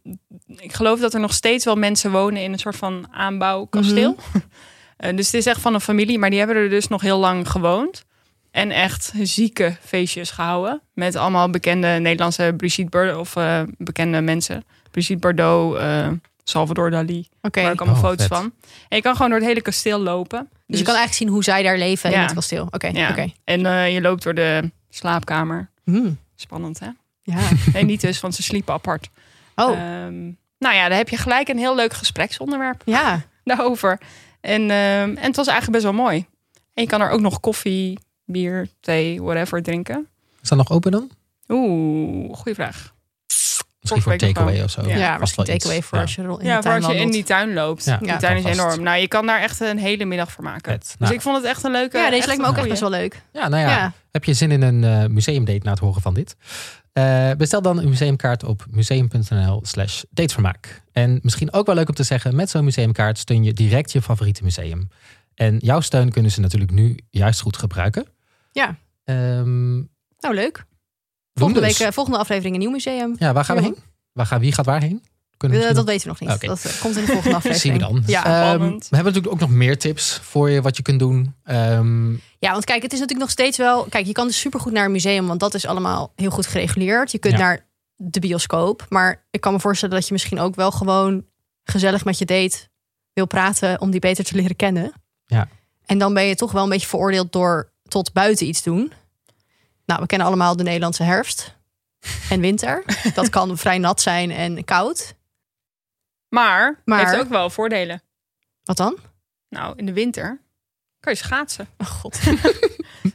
S2: ik geloof dat er nog steeds wel mensen wonen in een soort van aanbouwkasteel.
S1: Mhm.
S2: Eh, dus het is echt van een familie, maar die hebben er dus nog heel lang gewoond. En echt zieke feestjes gehouden. Met allemaal bekende Nederlandse Brigitte Bardot, of eh, bekende mensen. Brigitte Bardot, eh, Salvador Dali.
S1: oké.
S2: Waar ik allemaal
S3: Oh,
S2: foto's
S3: vet.
S2: van. En je kan gewoon door het hele kasteel lopen.
S1: Dus je kan eigenlijk zien hoe zij daar leven in
S2: Ja.
S1: het kasteel. Oké,
S2: Ja.
S1: oké.
S2: En eh, je loopt door de slaapkamer.
S1: Hmm,
S2: Spannend, hè?
S1: Ja.
S2: Nee, niet dus, want ze sliepen apart.
S1: Oh,
S2: Ehm, nou ja, daar heb je gelijk een heel leuk gespreksonderwerp
S1: ja.
S2: daarover. En, ehm, en het was eigenlijk best wel mooi. En je kan er ook nog koffie, bier, thee, whatever drinken.
S3: Is dat nog open dan?
S2: Oeh, goede vraag.
S3: Misschien
S2: Vorige
S3: voor
S2: week nog
S3: takeaway
S2: wel.
S3: of zo.
S1: Ja,
S2: Ja,
S3: Vast wel
S1: misschien takeaway
S3: iets.
S1: voor
S3: Ja.
S1: als je er in
S2: ja,
S1: de
S2: voor
S1: tuin
S2: als je in
S1: wandelt.
S2: die tuin loopt.
S3: Ja,
S2: die
S1: ja,
S2: tuin is
S3: vast.
S2: enorm. Nou, je kan daar echt een hele middag voor maken.
S3: Vet.
S2: Dus
S3: Nou,
S2: ik vond het echt een leuke.
S1: Ja, deze
S2: echt
S1: lijkt me ook
S2: een
S1: echt best
S2: goeie.
S1: wel leuk.
S3: ja, nou
S1: Ja.
S3: ja. Heb je zin in een eh, museumdate na het horen van dit? Eh, bestel dan een museumkaart op museum.nl slash datevermaak. En misschien ook wel leuk om te zeggen, met zo'n museumkaart steun je direct je favoriete museum. En jouw steun kunnen ze natuurlijk nu juist goed gebruiken.
S1: Ja.
S3: Ehm,
S1: Nou, leuk.
S3: doen
S1: Volgende,
S3: dus.
S1: week, eh, volgende aflevering een nieuw museum.
S3: Ja, waar gaan we
S1: Ja.
S3: heen? Waar gaan, wie gaat waarheen? Kunnen we
S1: Eh, dat
S3: misschien
S1: weten we nog niet.
S3: Oké.
S1: Dat eh, komt in de volgende
S3: nog-
S1: aflevering.
S3: zien we dan.
S1: Ja,
S3: Ehm,
S2: spannend.
S3: we hebben natuurlijk ook nog meer tips voor je wat je kunt doen. Ehm,
S1: Ja, want kijk, het is natuurlijk nog steeds wel. Kijk, je kan dus supergoed naar een museum, want dat is allemaal heel goed gereguleerd. Je kunt
S3: Ja.
S1: naar de bioscoop. Maar ik kan me voorstellen dat je misschien ook wel gewoon gezellig met je date wil praten om die beter te leren kennen.
S3: Ja.
S1: En dan ben je toch wel een beetje veroordeeld door tot buiten iets doen. Nou, we kennen allemaal de Nederlandse herfst en winter. Dat kan vrij nat zijn en koud.
S2: Maar,
S1: Maar-
S2: heeft ook wel voordelen.
S1: Wat dan?
S2: Nou, in de winter kan je schaatsen.
S1: Oh god.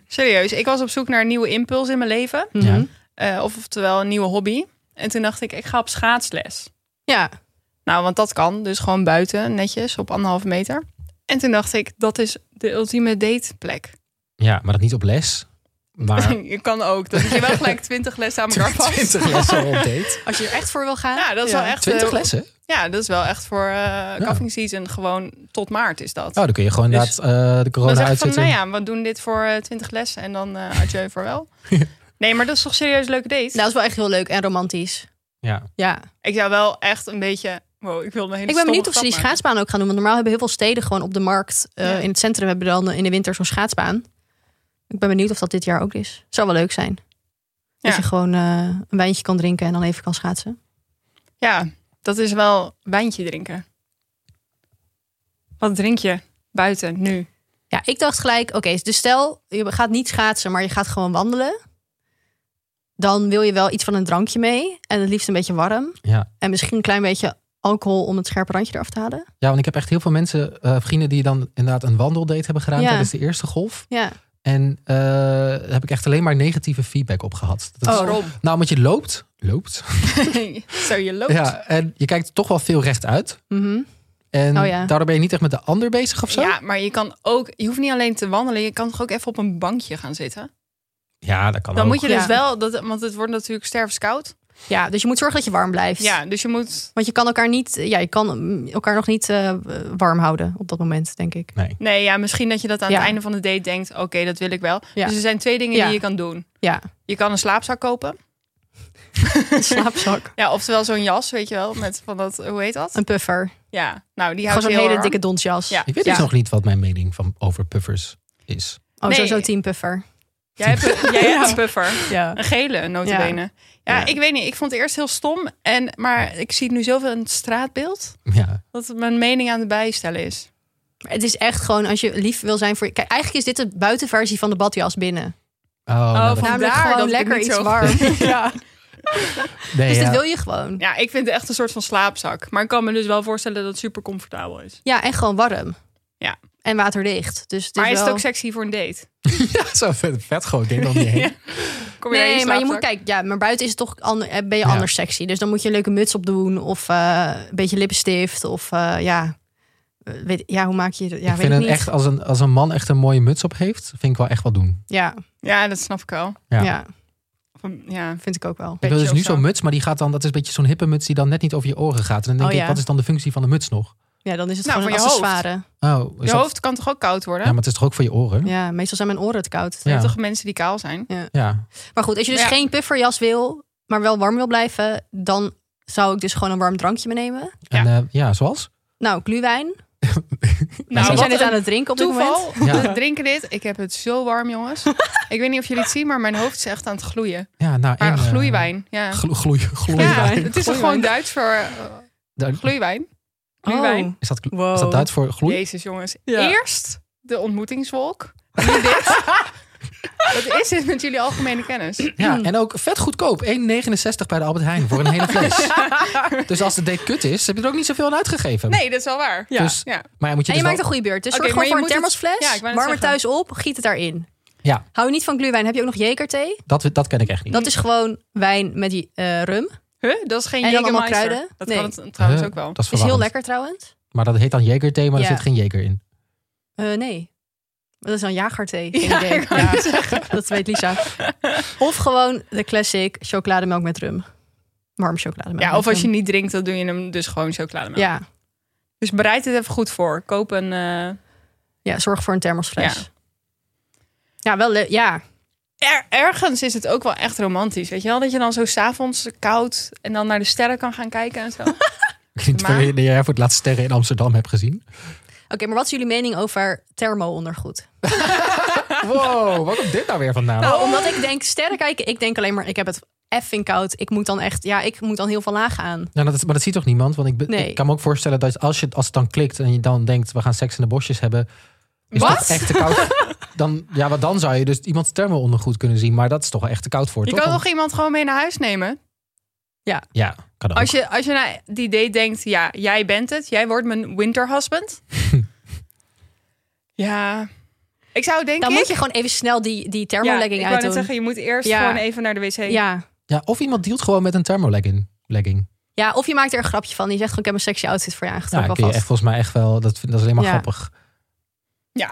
S2: Serieus, ik was op zoek naar een nieuwe impuls in mijn leven.
S1: Mhm.
S3: Ja.
S2: Eh, of, oftewel een nieuwe hobby. En toen dacht ik, ik ga op schaatsles.
S1: ja.
S2: Nou, want dat kan. Dus gewoon buiten, netjes, op anderhalve meter. En toen dacht ik, dat is de ultieme dateplek.
S3: ja, maar dat niet op les. Maar
S2: je kan ook. Dan zit je wel gelijk twintig lessen aan elkaar vast.
S3: 20 lessen op date.
S1: Als je er echt voor wil gaan.
S2: Ja, dat is wel echt...
S3: 20
S2: eh,
S3: lessen?
S2: Ja, dat is wel echt voor eh cuffing season. Gewoon tot maart is dat.
S3: Oh, dan kun je gewoon
S2: Dus-
S3: inderdaad eh, de
S2: dan
S3: corona
S2: zeg je van,
S3: uitzetten.
S2: nou ja, we doen dit voor twintig lessen. En dan eh adieu voor wel. Nee, maar dat is toch serieus een leuke date?
S1: Nou, dat is wel echt heel leuk en romantisch.
S3: ja.
S1: Ja.
S2: Ik zou wel echt een beetje... Wow, ik wil een hele
S1: Ik ben
S2: stomme
S1: benieuwd of ze die
S2: grap maken.
S1: schaatsbaan ook gaan doen. Want normaal hebben heel veel steden gewoon op de markt. eh,
S2: Ja.
S1: In het centrum hebben we dan eh, in de winter zo'n schaatsbaan. Ik ben benieuwd of dat dit jaar ook is. Zou wel leuk zijn. Dat
S2: Ja.
S1: je gewoon eh, een wijntje kan drinken en dan even kan schaatsen.
S2: Ja, dat is wel wijntje drinken. Wat drink je buiten nu?
S1: Ja, ik dacht gelijk, oké, dus stel je gaat niet schaatsen, maar je gaat gewoon wandelen. Dan wil je wel iets van een drankje mee. En het liefst een beetje warm.
S3: Ja.
S1: En misschien een klein beetje alcohol om het scherpe randje eraf te halen.
S3: ja, want ik heb echt heel veel mensen, eh, vrienden die dan inderdaad een wandeldate hebben gedaan
S1: Ja.
S3: tijdens de eerste golf.
S1: Ja.
S3: En eh, daar heb ik echt alleen maar negatieve feedback op gehad. Dat
S1: Oh.
S3: is-
S2: Waarom?
S3: Nou, omdat je loopt. Loopt.
S2: Zo je loopt.
S3: Ja, en je kijkt toch wel veel rechtuit.
S1: Mhm.
S3: En
S1: Oh ja.
S3: daardoor ben je niet echt met de ander bezig of zo.
S2: Ja, maar je kan ook, je hoeft niet alleen te wandelen, je kan toch ook even op een bankje gaan zitten.
S3: Ja, dat kan
S2: Dan
S3: ook.
S2: moet je
S1: Ja.
S2: dus wel, dat, want het wordt natuurlijk stervenskoud.
S1: ja, dus je moet zorgen dat je warm blijft.
S2: Ja, dus je moet,
S1: Want je kan elkaar niet, ja, je kan mm, elkaar nog niet eh, warm houden op dat moment, denk ik.
S3: Nee.
S2: nee ja, misschien dat je dat aan
S1: Ja.
S2: het einde van de date denkt, oké, dat wil ik wel.
S1: Ja.
S2: Dus er zijn twee dingen
S1: Ja.
S2: die je kan doen.
S1: Ja,
S2: Je kan een slaapzak kopen,
S1: een slaapzak,
S2: ja, oftewel zo'n jas, weet je wel, met van dat, hoe heet dat?
S1: een puffer,
S2: Ja, nou
S1: gewoon
S2: die houdt je
S1: zo'n
S2: heel
S1: hele
S2: warm.
S1: dikke donsjas.
S2: Ja.
S3: Ik weet
S1: Ja.
S3: dus nog niet wat mijn mening van, over puffers is.
S1: Oh,
S2: Nee.
S1: sowieso team puffer.
S2: Jij hebt, jij hebt een puffer.
S1: Ja.
S2: Een gele, notabene. Ja.
S1: Ja.
S2: ik weet niet. Ik vond het eerst heel stom. En, maar ik zie het nu zoveel in het straatbeeld.
S3: Ja,
S2: Dat het mijn mening aan het bijstellen is.
S1: Maar het is echt gewoon, als je lief wil zijn voor je... Kijk, eigenlijk is dit de buitenversie van de badjas binnen.
S3: oh, nou, dat-
S1: Namelijk
S2: van- Vandaar dat
S1: gewoon
S2: ik het
S1: lekker
S2: niet
S1: iets
S2: zo-
S1: warm. ja.
S3: nee,
S1: Dus
S3: ja.
S1: dat wil je gewoon.
S2: Ja, ik vind het echt een soort van slaapzak. Maar ik kan me dus wel voorstellen dat het super comfortabel is.
S1: Ja, en gewoon warm.
S2: Ja.
S1: En waterdicht. Dus het
S2: maar
S1: is
S2: is
S1: wel...
S2: het ook sexy voor een date?
S3: Ja, zo vet, vet gewoon, ik denk dat niet heen.
S2: Kom je
S1: Nee,
S2: in
S1: maar je
S2: slaapzak?
S1: moet kijken. Ja, maar buiten is het toch ander, eh, ben je
S3: Ja.
S1: anders sexy. Dus dan moet je een leuke muts op doen. Of eh, een beetje lippenstift. Of eh, ja. eh, Weet, ja, hoe maak je dat? Ja,
S3: ik
S1: weet
S3: vind
S1: ik
S3: het
S1: niet.
S3: echt, als een, als een man echt een mooie muts op heeft, vind ik wel echt wat doen.
S1: Ja,
S2: Ja, dat snap ik wel.
S1: ja.
S3: Ja.
S2: Of een- Ja.
S1: vind ik ook wel.
S3: Ik wil dus
S2: Petje
S3: nu
S2: of zo.
S3: zo'n muts, maar die gaat dan, dat is een beetje zo'n hippe muts die dan net niet over je oren gaat. En dan denk
S1: Oh,
S3: ik,
S1: ja.
S3: wat is dan de functie van de muts nog?
S1: Ja, dan is het
S2: Nou,
S1: gewoon een
S2: voor je hoofd.
S1: accessoire.
S3: Oh, is
S2: Je
S3: dat-
S2: hoofd kan toch ook koud worden?
S3: Ja, maar het is toch ook voor je oren? Ja.
S1: Ja, meestal zijn mijn oren te koud.
S2: Er
S3: ja.
S2: zijn toch mensen die kaal zijn?
S1: Maar goed, als je dus
S2: Ja.
S1: geen pufferjas wil, maar wel warm wil blijven, dan zou ik dus gewoon een warm drankje meenemen.
S3: En, eh, ja, zoals?
S1: Nou, gluwijn.
S2: Nou,
S1: we
S2: wat
S1: zijn dit
S2: een
S1: aan het drinken op dit moment.
S2: Toeval,
S3: moment?
S2: we drinken dit. Ik heb het zo warm, jongens. ik weet niet of jullie het zien, maar mijn hoofd is echt aan het gloeien.
S3: Ja, nou,
S2: Maar
S3: en, eh,
S2: gloeiwijn, ja.
S3: Glo gloei- gloeiwijn.
S2: Ja, het is toch gewoon Duits voor eh,
S3: Daar-
S2: gloeiwijn? Gloeiwijn.
S1: Oh,
S3: Is dat, glo-
S1: Wow.
S3: is dat Duits voor gloei?
S2: Jezus, jongens.
S1: Ja.
S2: Eerst de ontmoetingswolk. Nu dit. Wat is dit met jullie algemene kennis?
S1: Hmm.
S3: Ja, en ook vet goedkoop. 1,69 bij de Albert Heijn voor een hele fles. dus als de date kut is, heb je er ook niet zoveel aan uitgegeven.
S2: Nee, dat is wel waar. Ja.
S3: Dus,
S2: ja.
S3: Maar ja, moet je
S1: En je
S3: dus
S1: maakt een
S3: wel-
S1: goede beurt. Dus
S2: Oké,
S1: zorg
S2: maar
S1: gewoon
S2: je
S1: voor een
S2: moet het-
S1: thermosfles.
S2: Ja, ik wou net
S1: warm er
S2: zeggen.
S1: thuis op, giet het daarin.
S3: Ja,
S1: Hou je niet van gluwijn, heb je ook nog jekerthee?
S3: dat, dat ken ik echt niet.
S2: Mm.
S1: Dat is gewoon wijn met die eh, rum.
S2: Huh? Dat is geen
S1: En dan allemaal
S2: Jägermeister.
S1: kruiden?
S2: Dat
S1: Nee.
S2: kan het trouwens
S3: Huh,
S2: ook wel.
S3: Dat is,
S1: Is heel
S3: verwarrend.
S1: lekker trouwens.
S3: Maar dat heet dan jekerthee, maar
S1: Ja.
S3: er zit geen jeker in.
S1: Eh, nee. Dat is dan jagerthee. Geen
S2: Ja,
S1: idee.
S2: ik wou
S1: Ja,
S2: net zeggen.
S1: dat weet Lisa. Of gewoon de classic chocolademelk met rum. Warm chocolademelk.
S2: Ja,
S1: met
S2: of als je
S1: rum.
S2: niet drinkt, dan doe je hem dus gewoon chocolademelk.
S1: Ja.
S2: Dus bereid het even goed voor. Koop een... eh,
S1: ja, zorg voor een thermosfles.
S2: Ja.
S1: Ja, wel le- Ja.
S2: er- ergens is het ook wel echt romantisch. Weet je wel? Dat je dan zo s'avonds koud en dan naar de sterren kan gaan kijken en zo.
S3: Ik weet niet
S2: Maar-
S3: wanneer jij voor het laatst sterren in Amsterdam hebt gezien.
S1: Oké, maar wat is jullie mening over thermo-ondergoed?
S3: Wow, wat komt dit nou weer vandaan?
S2: Oh.
S1: Nou, omdat ik denk, sterren kijken, ik denk alleen maar, ik heb het effing koud. Ik moet dan echt, ja, ik moet dan heel veel laag aan.
S3: Ja, Nou, dat, maar dat ziet toch niemand? Want ik, be-
S1: Nee.
S3: ik kan me ook voorstellen dat als, je, als het dan klikt en je dan denkt, we gaan seks in de bosjes hebben. Is
S2: Wat?
S3: dat echt te koud? dan, ja, wat dan zou je dus iemands thermo-ondergoed kunnen zien. Maar dat is toch wel echt te koud voor,
S2: Je
S3: toch?
S2: kan
S3: Want-
S2: toch iemand gewoon mee naar huis nemen?
S3: Ja, kan ook.
S2: Als je, als je naar die date denkt, ja, jij bent het. Jij wordt mijn winter husband. ja. Ik zou denk
S1: Dan
S2: ik...
S1: moet je gewoon even snel die, die
S2: ja,
S1: thermolegging
S2: ik wou net
S1: uitdoen.
S2: zeggen, je moet eerst
S1: Ja.
S2: gewoon even naar de wc.
S1: ja.
S3: Ja, of iemand dealt gewoon met een thermolegging. Legging.
S1: ja, of je maakt er een grapje van. Je zegt gewoon, ik heb een sexy outfit voor je
S3: Ja,
S1: aangetrokken
S3: kun je
S1: alvast.
S3: echt volgens mij echt wel. Dat, vind- dat is alleen maar
S1: Ja.
S3: grappig.
S2: Ja.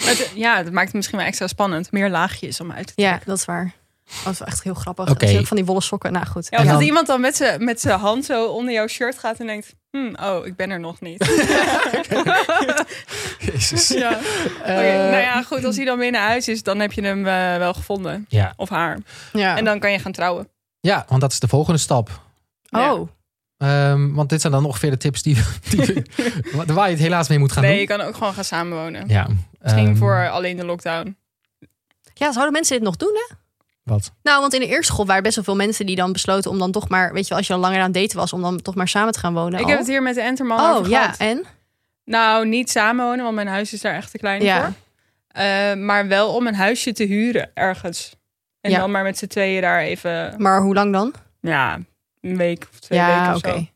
S2: het, ja, dat maakt het misschien wel extra spannend. Meer laagjes om uit te
S1: Ja, dat is waar. Dat is wel echt heel grappig.
S3: Oké.
S1: Er zijn ook van die wollen sokken. Nou goed.
S2: Ja, of
S3: En
S2: dat
S3: dan-
S2: iemand dan met zijn met z'n hand zo onder jouw shirt gaat en denkt... Hmm, oh, ik ben er nog niet.
S3: Jezus.
S2: ja.
S3: Eh,
S2: Oké,
S1: Eh.
S2: nou ja, goed. Als hij dan weer naar huis is, dan heb je hem eh, wel gevonden.
S3: Ja.
S2: Of haar.
S1: Ja.
S2: En dan kan je gaan trouwen.
S3: ja, want dat is de volgende stap.
S2: Ja.
S1: Oh,
S3: Ehm, want dit zijn dan ongeveer de tips die, die we- waar je het helaas mee moet gaan
S2: Nee,
S3: doen.
S2: je kan ook gewoon gaan samenwonen.
S3: Ja,
S2: Misschien
S3: ehm,
S2: voor alleen de lockdown.
S1: ja, zouden mensen dit nog doen, hè?
S3: Wat?
S1: Nou, want in de eerste school waren best wel veel mensen die dan besloten om dan toch maar, weet je wel, als je al langer aan het daten was, om dan toch maar samen te gaan wonen.
S2: Ik
S1: al.
S2: heb het hier met de Enterman
S1: nou. Oh
S2: over
S1: ja,
S2: gehad.
S1: en?
S2: Nou, niet samenwonen, want mijn huis is daar echt te klein
S1: Ja.
S2: voor. Eh, maar wel om een huisje te huren ergens. En
S1: Ja.
S2: dan maar met z'n tweeën daar even...
S1: Maar hoe lang dan?
S2: Ja, een week of twee weken
S1: ja,
S2: of zo.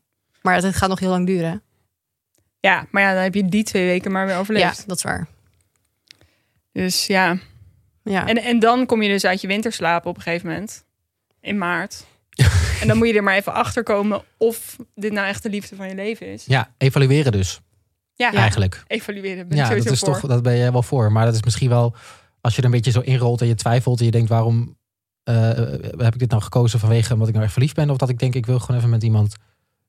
S1: Maar het, het gaat nog heel lang duren. hè?
S2: Ja, maar ja, dan heb je die twee weken maar weer
S1: Ja,
S2: overleefd.
S1: dat is waar.
S2: Dus ja.
S1: Ja.
S2: En, en dan kom je dus uit je winterslaap op een gegeven moment. In maart. en dan moet je er maar even achter komen of dit nou echt de liefde van je leven is.
S3: Ja, evalueren dus
S2: Ja,
S3: eigenlijk.
S2: evalueren. Ben ik
S3: Ja, dat,
S2: sowieso
S3: is
S2: voor.
S3: toch, dat ben je wel voor. Maar dat is misschien wel, als je er een beetje zo inrolt en je twijfelt en je denkt waarom eh, heb ik dit nou gekozen vanwege omdat ik nou echt verliefd ben. Of dat ik denk ik wil gewoon even met iemand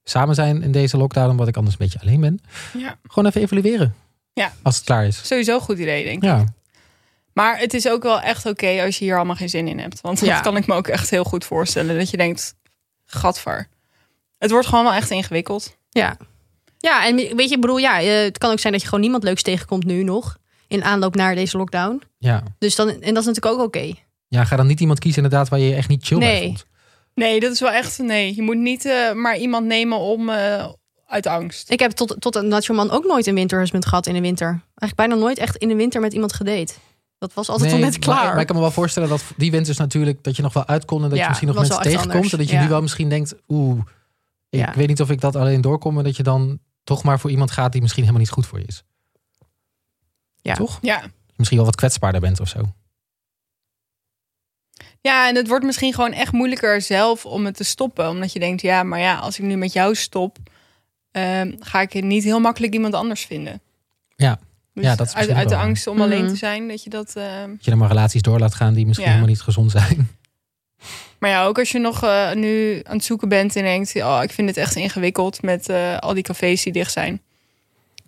S3: samen zijn in deze lockdown omdat ik anders een beetje alleen ben.
S2: Ja.
S3: Gewoon even evalueren.
S2: Ja.
S3: Als het klaar is.
S2: Sowieso een goed idee, denk ik.
S3: Ja.
S2: Maar het is ook wel echt oké als je hier allemaal geen zin in hebt. Want
S1: Ja.
S2: dat kan ik me ook echt heel goed voorstellen. Dat je denkt, gadver. Het wordt gewoon wel echt ingewikkeld.
S1: Ja. ja, en weet je, ik bedoel, ja, eh, het kan ook zijn dat je gewoon niemand leuks tegenkomt nu nog. in aanloop naar deze lockdown.
S3: Ja.
S1: Dus dan, en dat is natuurlijk ook oké.
S3: ja, ga dan niet iemand kiezen inderdaad waar je je echt niet chill bij
S1: Nee.
S3: voelt.
S2: Nee, dat is wel echt. Nee, je moet niet eh, maar iemand nemen om eh, uit angst.
S1: Ik heb tot, tot een Nacho Man ook nooit een winterhusband gehad in de winter. Eigenlijk bijna nooit echt in de winter met iemand gedate. Dat was altijd
S3: Nee,
S1: al net klaar.
S3: Maar, maar ik kan me wel voorstellen dat die winters natuurlijk... dat je nog wel uit kon en dat je
S1: Ja,
S3: misschien nog
S1: was
S3: mensen
S1: wel echt
S3: tegenkomt. En
S1: anders.
S3: dat je nu
S1: Ja.
S3: wel misschien denkt... oeh, ik
S1: Ja.
S3: weet niet of ik dat alleen doorkom. En dat je dan toch maar voor iemand gaat die misschien helemaal niet goed voor je is.
S1: Ja.
S3: Toch?
S2: Ja.
S3: Misschien wel wat kwetsbaarder bent of zo.
S2: Ja, en het wordt misschien gewoon echt moeilijker zelf om het te stoppen. Omdat je denkt, ja, maar ja, als ik nu met jou stop, ehm, ga ik niet heel makkelijk iemand anders vinden.
S3: Ja.
S2: Dus
S3: Ja, dat is
S2: uit,
S3: misschien
S2: uit de
S3: wel.
S2: angst om
S1: Mhm.
S2: alleen te zijn, dat je dat. ehm,
S3: Dat je dan maar relaties door laat gaan die misschien
S2: Ja.
S3: helemaal niet gezond zijn.
S2: Maar ja, ook als je nog eh, nu aan het zoeken bent en denkt, oh, ik vind het echt ingewikkeld met eh, al die cafés die dicht zijn,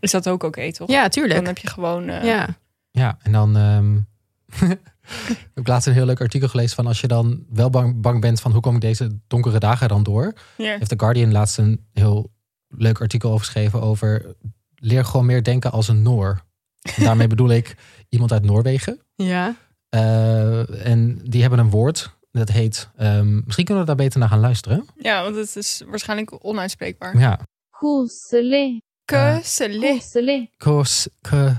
S2: is dat ook oké, toch?
S1: Ja, tuurlijk.
S2: Dan heb je gewoon. eh,
S1: ja.
S3: Ja, en dan... ehm, ik heb laatst een heel leuk artikel gelezen van... als je dan wel bang, bang bent van... hoe kom ik deze donkere dagen dan door...
S2: ja.
S3: heeft The Guardian laatst een heel leuk artikel over geschreven over leer gewoon meer denken als een Noor. En daarmee bedoel ik iemand uit Noorwegen.
S1: ja.
S3: Eh, en die hebben een woord dat heet. ehm, misschien kunnen we daar beter naar gaan luisteren.
S2: Ja, want het is waarschijnlijk onuitspreekbaar.
S3: Ja.
S7: Koselig,
S3: Ja.
S2: Kusele.
S7: koselig,
S3: Kos, ke,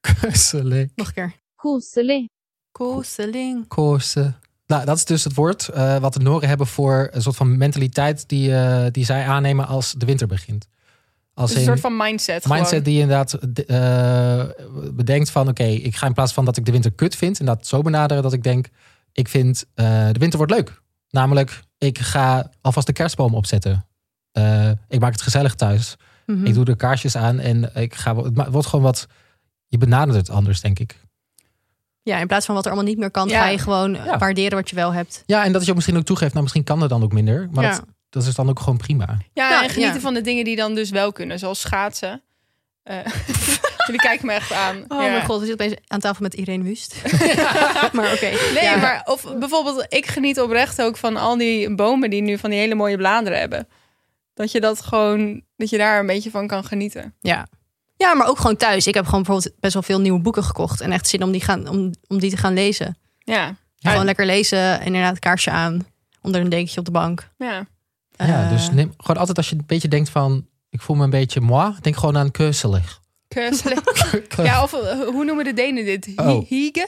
S3: kusele,
S1: Nog een keer.
S7: koselig.
S1: Kooseling.
S3: kose. Nou, dat is dus het woord eh, wat de Nooren hebben voor een soort van mentaliteit die, eh, die zij aannemen als de winter begint. Als
S2: Dus een
S3: in-
S2: soort van mindset. gewoon.
S3: Mindset die inderdaad eh, bedenkt van... oké, ik ga in plaats van dat ik de winter kut vind... en dat zo benaderen dat ik denk... ik vind eh, de winter wordt leuk. Namelijk, ik ga alvast de kerstboom opzetten. Eh, ik maak het gezellig thuis.
S1: Mhm.
S3: Ik doe de kaarsjes aan en ik ga... Het ma- wordt gewoon wat... Je benadert het anders, denk ik.
S1: Ja, in plaats van wat er allemaal niet meer kan,
S2: Ja.
S1: ga je gewoon eh,
S3: Ja.
S1: waarderen wat je wel hebt.
S3: Ja, en dat je ook misschien ook toegeeft... nou, misschien kan er dan ook minder. Maar
S1: Ja.
S3: dat, dat is dan ook gewoon prima.
S2: Ja,
S1: Ja,
S2: en genieten
S1: ja.
S2: van de dingen die dan dus wel kunnen, zoals schaatsen. Eh, jullie kijken me echt aan.
S1: Oh
S2: Ja.
S1: mijn god, we zitten opeens aan tafel met Irene Wust. maar oké.
S2: Nee,
S1: Ja.
S2: maar of bijvoorbeeld, ik geniet oprecht ook van al die bomen die nu van die hele mooie bladeren hebben. Dat je dat gewoon, dat je daar een beetje van kan genieten.
S1: Ja. ja, maar ook gewoon thuis. Ik heb gewoon bijvoorbeeld best wel veel nieuwe boeken gekocht. En echt zin om die, gaan, om, om die te gaan lezen.
S2: Ja,
S1: Gewoon lekker lezen, inderdaad kaarsje aan. Onder een dekentje op de bank.
S2: ja.
S3: ja,
S1: Eh,
S3: dus neem, gewoon altijd als je een beetje denkt van... ik voel me een beetje moi... denk gewoon aan keuzelig.
S2: Kusselen. Ja, of eh, hoe noemen de Denen dit? Hi-
S3: Oh.
S2: Hiege?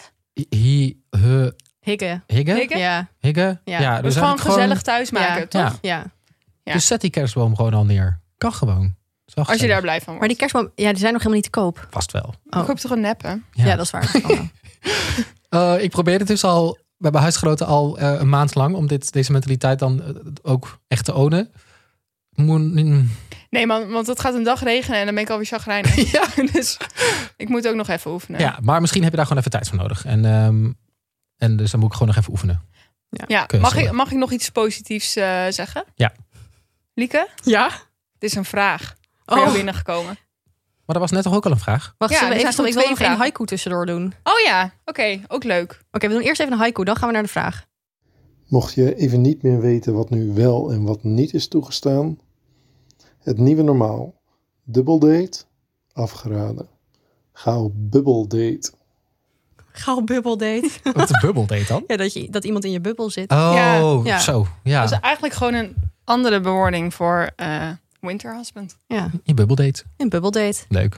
S3: Hi, he,
S1: hikken.
S3: higge?
S2: Hikken?
S1: Ja,
S3: Higge?
S1: Ja.
S3: Ja,
S2: Dus
S3: dus
S2: gewoon
S3: eigenlijk
S2: gezellig thuis maken,
S1: Ja.
S2: toch?
S3: Ja.
S1: ja.
S2: Ja.
S3: Dus zet die kerstboom gewoon al neer. Kan gewoon.
S2: Als
S3: Is wel
S2: je daar
S3: gezellig.
S2: blij van
S1: Maar
S2: wordt.
S1: die kerstboom, ja, die zijn nog helemaal niet te koop.
S3: Vast wel.
S1: Oh.
S2: Ik hoop toch een neppen.
S1: Ja,
S3: Ja.
S1: dat is waar. Oh.
S3: Eh, ik probeer het dus al bij mijn huisgenoten al eh, een maand lang... om dit, deze mentaliteit dan eh, ook echt te ownen. Moet- mm,
S2: Nee, man, want het gaat een dag regenen en dan ben ik alweer chagrijnig. Ja. dus ik moet ook nog even oefenen.
S3: ja, maar misschien heb je daar gewoon even tijd voor nodig. En, ehm, en dus dan moet ik gewoon nog even oefenen.
S2: Ja,
S3: Kun je
S2: mag ik,
S3: zeggen.
S2: mag ik nog iets positiefs eh, zeggen?
S3: Ja.
S2: Lieke,
S1: Ja?
S2: het is een vraag voor jou
S1: Oh,
S2: binnengekomen.
S3: Maar dat was net toch ook al een vraag?
S1: wacht,
S2: Ja,
S1: zullen we
S2: er zijn
S1: even
S2: gewoon
S1: stoppen? Ik wil
S2: twee
S1: nog één haiku
S2: vragen.
S1: tussendoor doen. Oké,
S2: Oh ja, oké, ook leuk.
S1: we doen eerst even een haiku, dan gaan we naar de vraag.
S4: Mocht je even niet meer weten wat nu wel en wat niet is toegestaan, het nieuwe normaal. Dubbeldate, afgeraden. Ga op bubbeldate.
S1: Gauw bubbeldate.
S3: Wat een bubbel deed dan?
S1: ja, dat, je, dat iemand in je bubbel zit.
S3: Oh,
S1: Ja.
S3: zo. Ja,
S2: Dat is eigenlijk gewoon een andere bewoording voor eh winter husband.
S1: Ja,
S3: je bubbeldate.
S1: een bubbeldate.
S3: Leuk.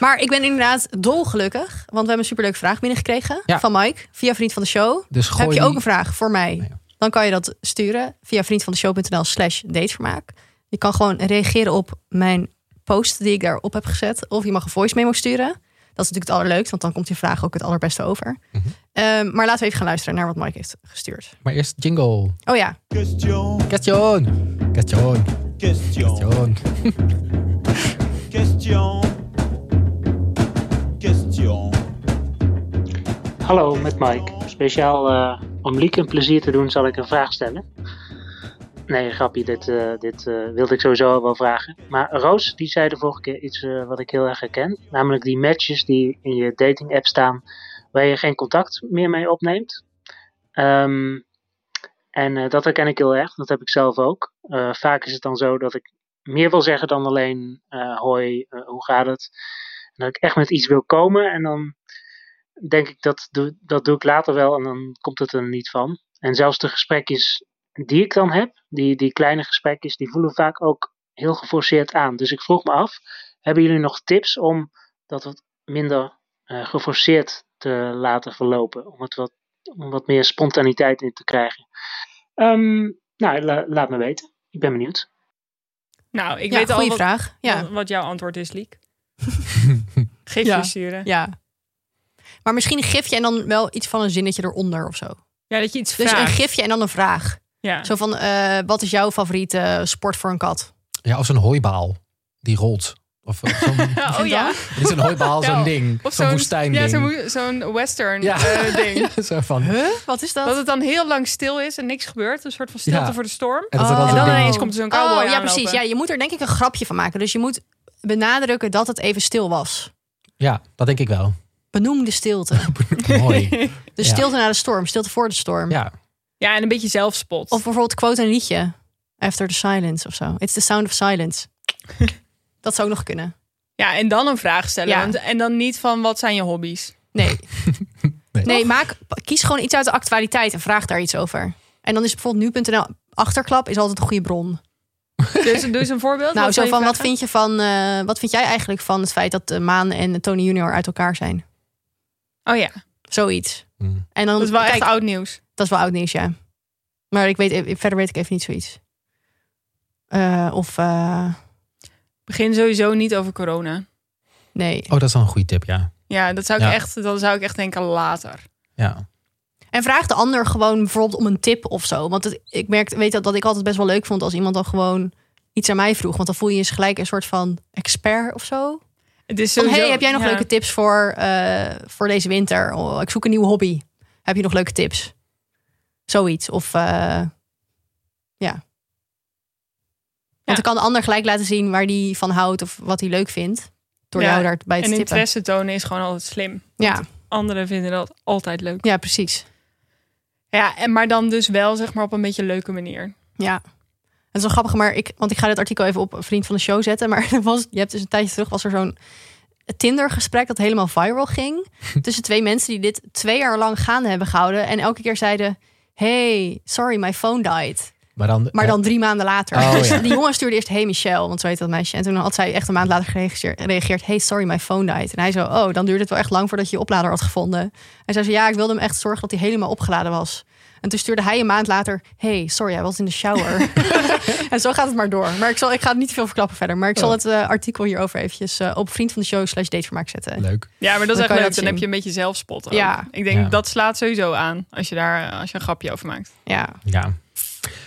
S1: Maar ik ben inderdaad dolgelukkig, want we hebben een superleuke vraag binnengekregen
S3: Ja.
S1: van Mike via Vriend van de Show.
S3: Dus gooi
S1: Heb je
S3: die-
S1: ook een vraag voor mij?
S3: Nee.
S1: Dan kan je dat sturen via vriendvandeshow.nl slash datevermaak. Je kan gewoon reageren op mijn post die ik daarop heb gezet. Of je mag een voice memo sturen. Dat is natuurlijk het allerleukst, want dan komt je vraag ook het allerbeste over.
S3: Mhm.
S1: Ehm, maar laten we even gaan luisteren naar wat Mike heeft gestuurd.
S3: Maar eerst jingle.
S1: Oh ja,
S8: Question,
S3: Question. Question.
S8: question,
S3: Question.
S8: question, question.
S9: Hallo, met Mike. Speciaal eh, om Lieke een plezier te doen, zal ik een vraag stellen. Nee, grapje, dit, eh, dit eh, wilde ik sowieso al wel vragen. Maar Roos, die zei de vorige keer iets eh, wat ik heel erg herken. Namelijk die matches die in je dating app staan, waar je geen contact meer mee opneemt. Ehm, en eh, dat herken ik heel erg, dat heb ik zelf ook. Eh, vaak is het dan zo dat ik meer wil zeggen dan alleen eh, hoi, eh, hoe gaat het? En dat ik echt met iets wil komen en dan denk ik, dat doe, dat doe ik later wel en dan komt het er niet van. En zelfs de gesprekjes die ik dan heb, die, die kleine gesprekjes, die voelen vaak ook heel geforceerd aan. Dus ik vroeg me af, hebben jullie nog tips om dat wat minder eh, geforceerd te laten verlopen? Om, het wat, om wat meer spontaniteit in te krijgen? Ehm, nou, la- laat me weten. Ik ben benieuwd.
S2: Nou, ik
S1: ja,
S2: weet al
S1: goeie
S2: wat, Oh.
S1: vraag. Ja.
S2: wat- wat jouw antwoord is, Liek. Geef
S1: Ja.
S2: je sturen. Ja.
S1: ja. Maar misschien een gifje en dan wel iets van een zinnetje eronder of zo.
S2: dat je iets
S1: Dus
S2: vraagt.
S1: een gifje en dan een vraag.
S2: ja.
S1: Zo van, eh, wat is jouw favoriete sport voor een kat?
S3: Ja, of zo'n hooibaal die rolt. Of eh, zo'n,
S2: Ja, oh ja.
S3: dit is een hooibaal,
S2: Ja,
S3: zo'n ding.
S2: Of
S3: zo'n
S2: zo'n
S3: woestijnding.
S2: Ja, zo'n woe- zo'n western
S3: Ja.
S2: eh, ding.
S3: Ja, zo van.
S1: Huh? Wat is dat?
S2: Dat het dan heel lang stil is en niks gebeurt. Een soort van stilte
S3: Ja.
S2: voor de storm.
S3: En dat er dan
S1: Oh.
S2: En
S3: zo'n
S2: dan
S3: ding-
S2: ineens komt er zo'n cowboy
S1: oh, ja,
S2: aanlopen.
S1: precies. Ja, je moet er denk ik een grapje van maken. Dus je moet benadrukken dat het even stil was.
S3: Ja, dat denk ik wel.
S1: Benoem de stilte.
S3: Mooi.
S1: Dus
S3: Ja.
S1: stilte na de storm, stilte voor de storm.
S3: Ja,
S2: Ja, en een beetje zelfspot.
S1: Of bijvoorbeeld quote een liedje. After the silence of zo. It's the sound of silence. dat zou ook nog kunnen.
S2: Ja, en dan een vraag stellen.
S1: Ja.
S2: Want- en dan niet van wat zijn je hobby's.
S1: Nee.
S3: Nee.
S1: nee, maak, kies gewoon iets uit de actualiteit en vraag daar iets over. En dan is bijvoorbeeld nu.nl achterklap is altijd een goede bron.
S2: Dus doe eens een voorbeeld.
S1: nou,
S2: Wat
S1: zo
S2: zou je
S1: van wat
S2: vragen?
S1: vind je van eh, wat vind jij eigenlijk van het feit dat de Maan en Tony Junior uit elkaar zijn?
S2: Oh ja,
S1: Zoiets.
S3: Hmm.
S1: En dan
S2: dat is wel
S1: kijk,
S2: echt oud nieuws.
S1: dat is wel oud nieuws, ja. Maar ik weet eh, verder weet ik even niet zoiets. Eh, of eh,
S2: Begin sowieso niet over corona.
S1: nee.
S3: oh, dat is wel een goede tip, ja.
S2: Ja, dat zou ik,
S3: Ja.
S2: Echt, dat zou ik echt denken later.
S3: Ja,
S1: En vraag de ander gewoon bijvoorbeeld om een tip of zo. Want het- ik merk, weet dat, dat ik altijd best wel leuk vond als iemand dan gewoon iets aan mij vroeg. Want dan voel je je gelijk een soort van expert of zo.
S2: Het is
S1: Van,
S2: sowieso-
S1: hey, heb jij nog
S2: ja.
S1: leuke tips voor, eh, voor deze winter? Oh, ik zoek een nieuwe hobby. Heb je nog leuke tips? Zoiets. Of eh, ja. Want
S2: Ja.
S1: dan kan de ander gelijk laten zien waar die van houdt of wat hij leuk vindt. Door
S2: Ja,
S1: jou daarbij te
S2: En
S1: tippen.
S2: interesse tonen is gewoon altijd slim.
S1: Ja,
S2: Anderen vinden dat altijd leuk.
S1: ja, precies.
S2: Ja, en, maar dan dus wel zeg maar op een beetje leuke manier.
S1: Ja. Het is wel grappig, maar ik, want ik ga dit artikel even op een vriend van de show zetten. Maar er was, je hebt dus een tijdje terug was er zo'n Tinder-gesprek dat helemaal viral ging. Tussen twee mensen die dit twee jaar lang gaande hebben gehouden. En elke keer zeiden: Hey, sorry, my phone died.
S3: maar dan...
S1: Maar dan drie maanden later.
S3: Oh,
S1: dus
S3: ja.
S1: die jongen stuurde eerst: Hey Michelle, want zo heet dat meisje. En toen had zij echt een maand later gereageer- gereageerd: Hey, sorry, my phone died. En hij zo: Oh, dan duurde het wel echt lang voordat je je oplader had gevonden. En zij zo: Ja, ik wilde hem echt zorgen dat hij helemaal opgeladen was. En toen stuurde hij een maand later: Hey, sorry, hij was in de shower. en zo gaat het maar door. Maar ik, zal, ik ga het niet te veel verklappen verder. Maar ik
S3: Oh.
S1: zal het eh, artikel hierover eventjes eh, op vriend van de show slash datevermaak zetten.
S3: Leuk.
S2: Ja, maar dat
S1: Dan kan
S2: is echt
S1: je
S2: leuk.
S1: dat
S2: Dan
S1: zien.
S2: heb je een beetje zelfspot. ook.
S1: Ja.
S2: Ik denk
S3: Ja.
S2: dat slaat sowieso aan als je daar eh, als je een grapje over maakt.
S1: Ja,
S3: Ja.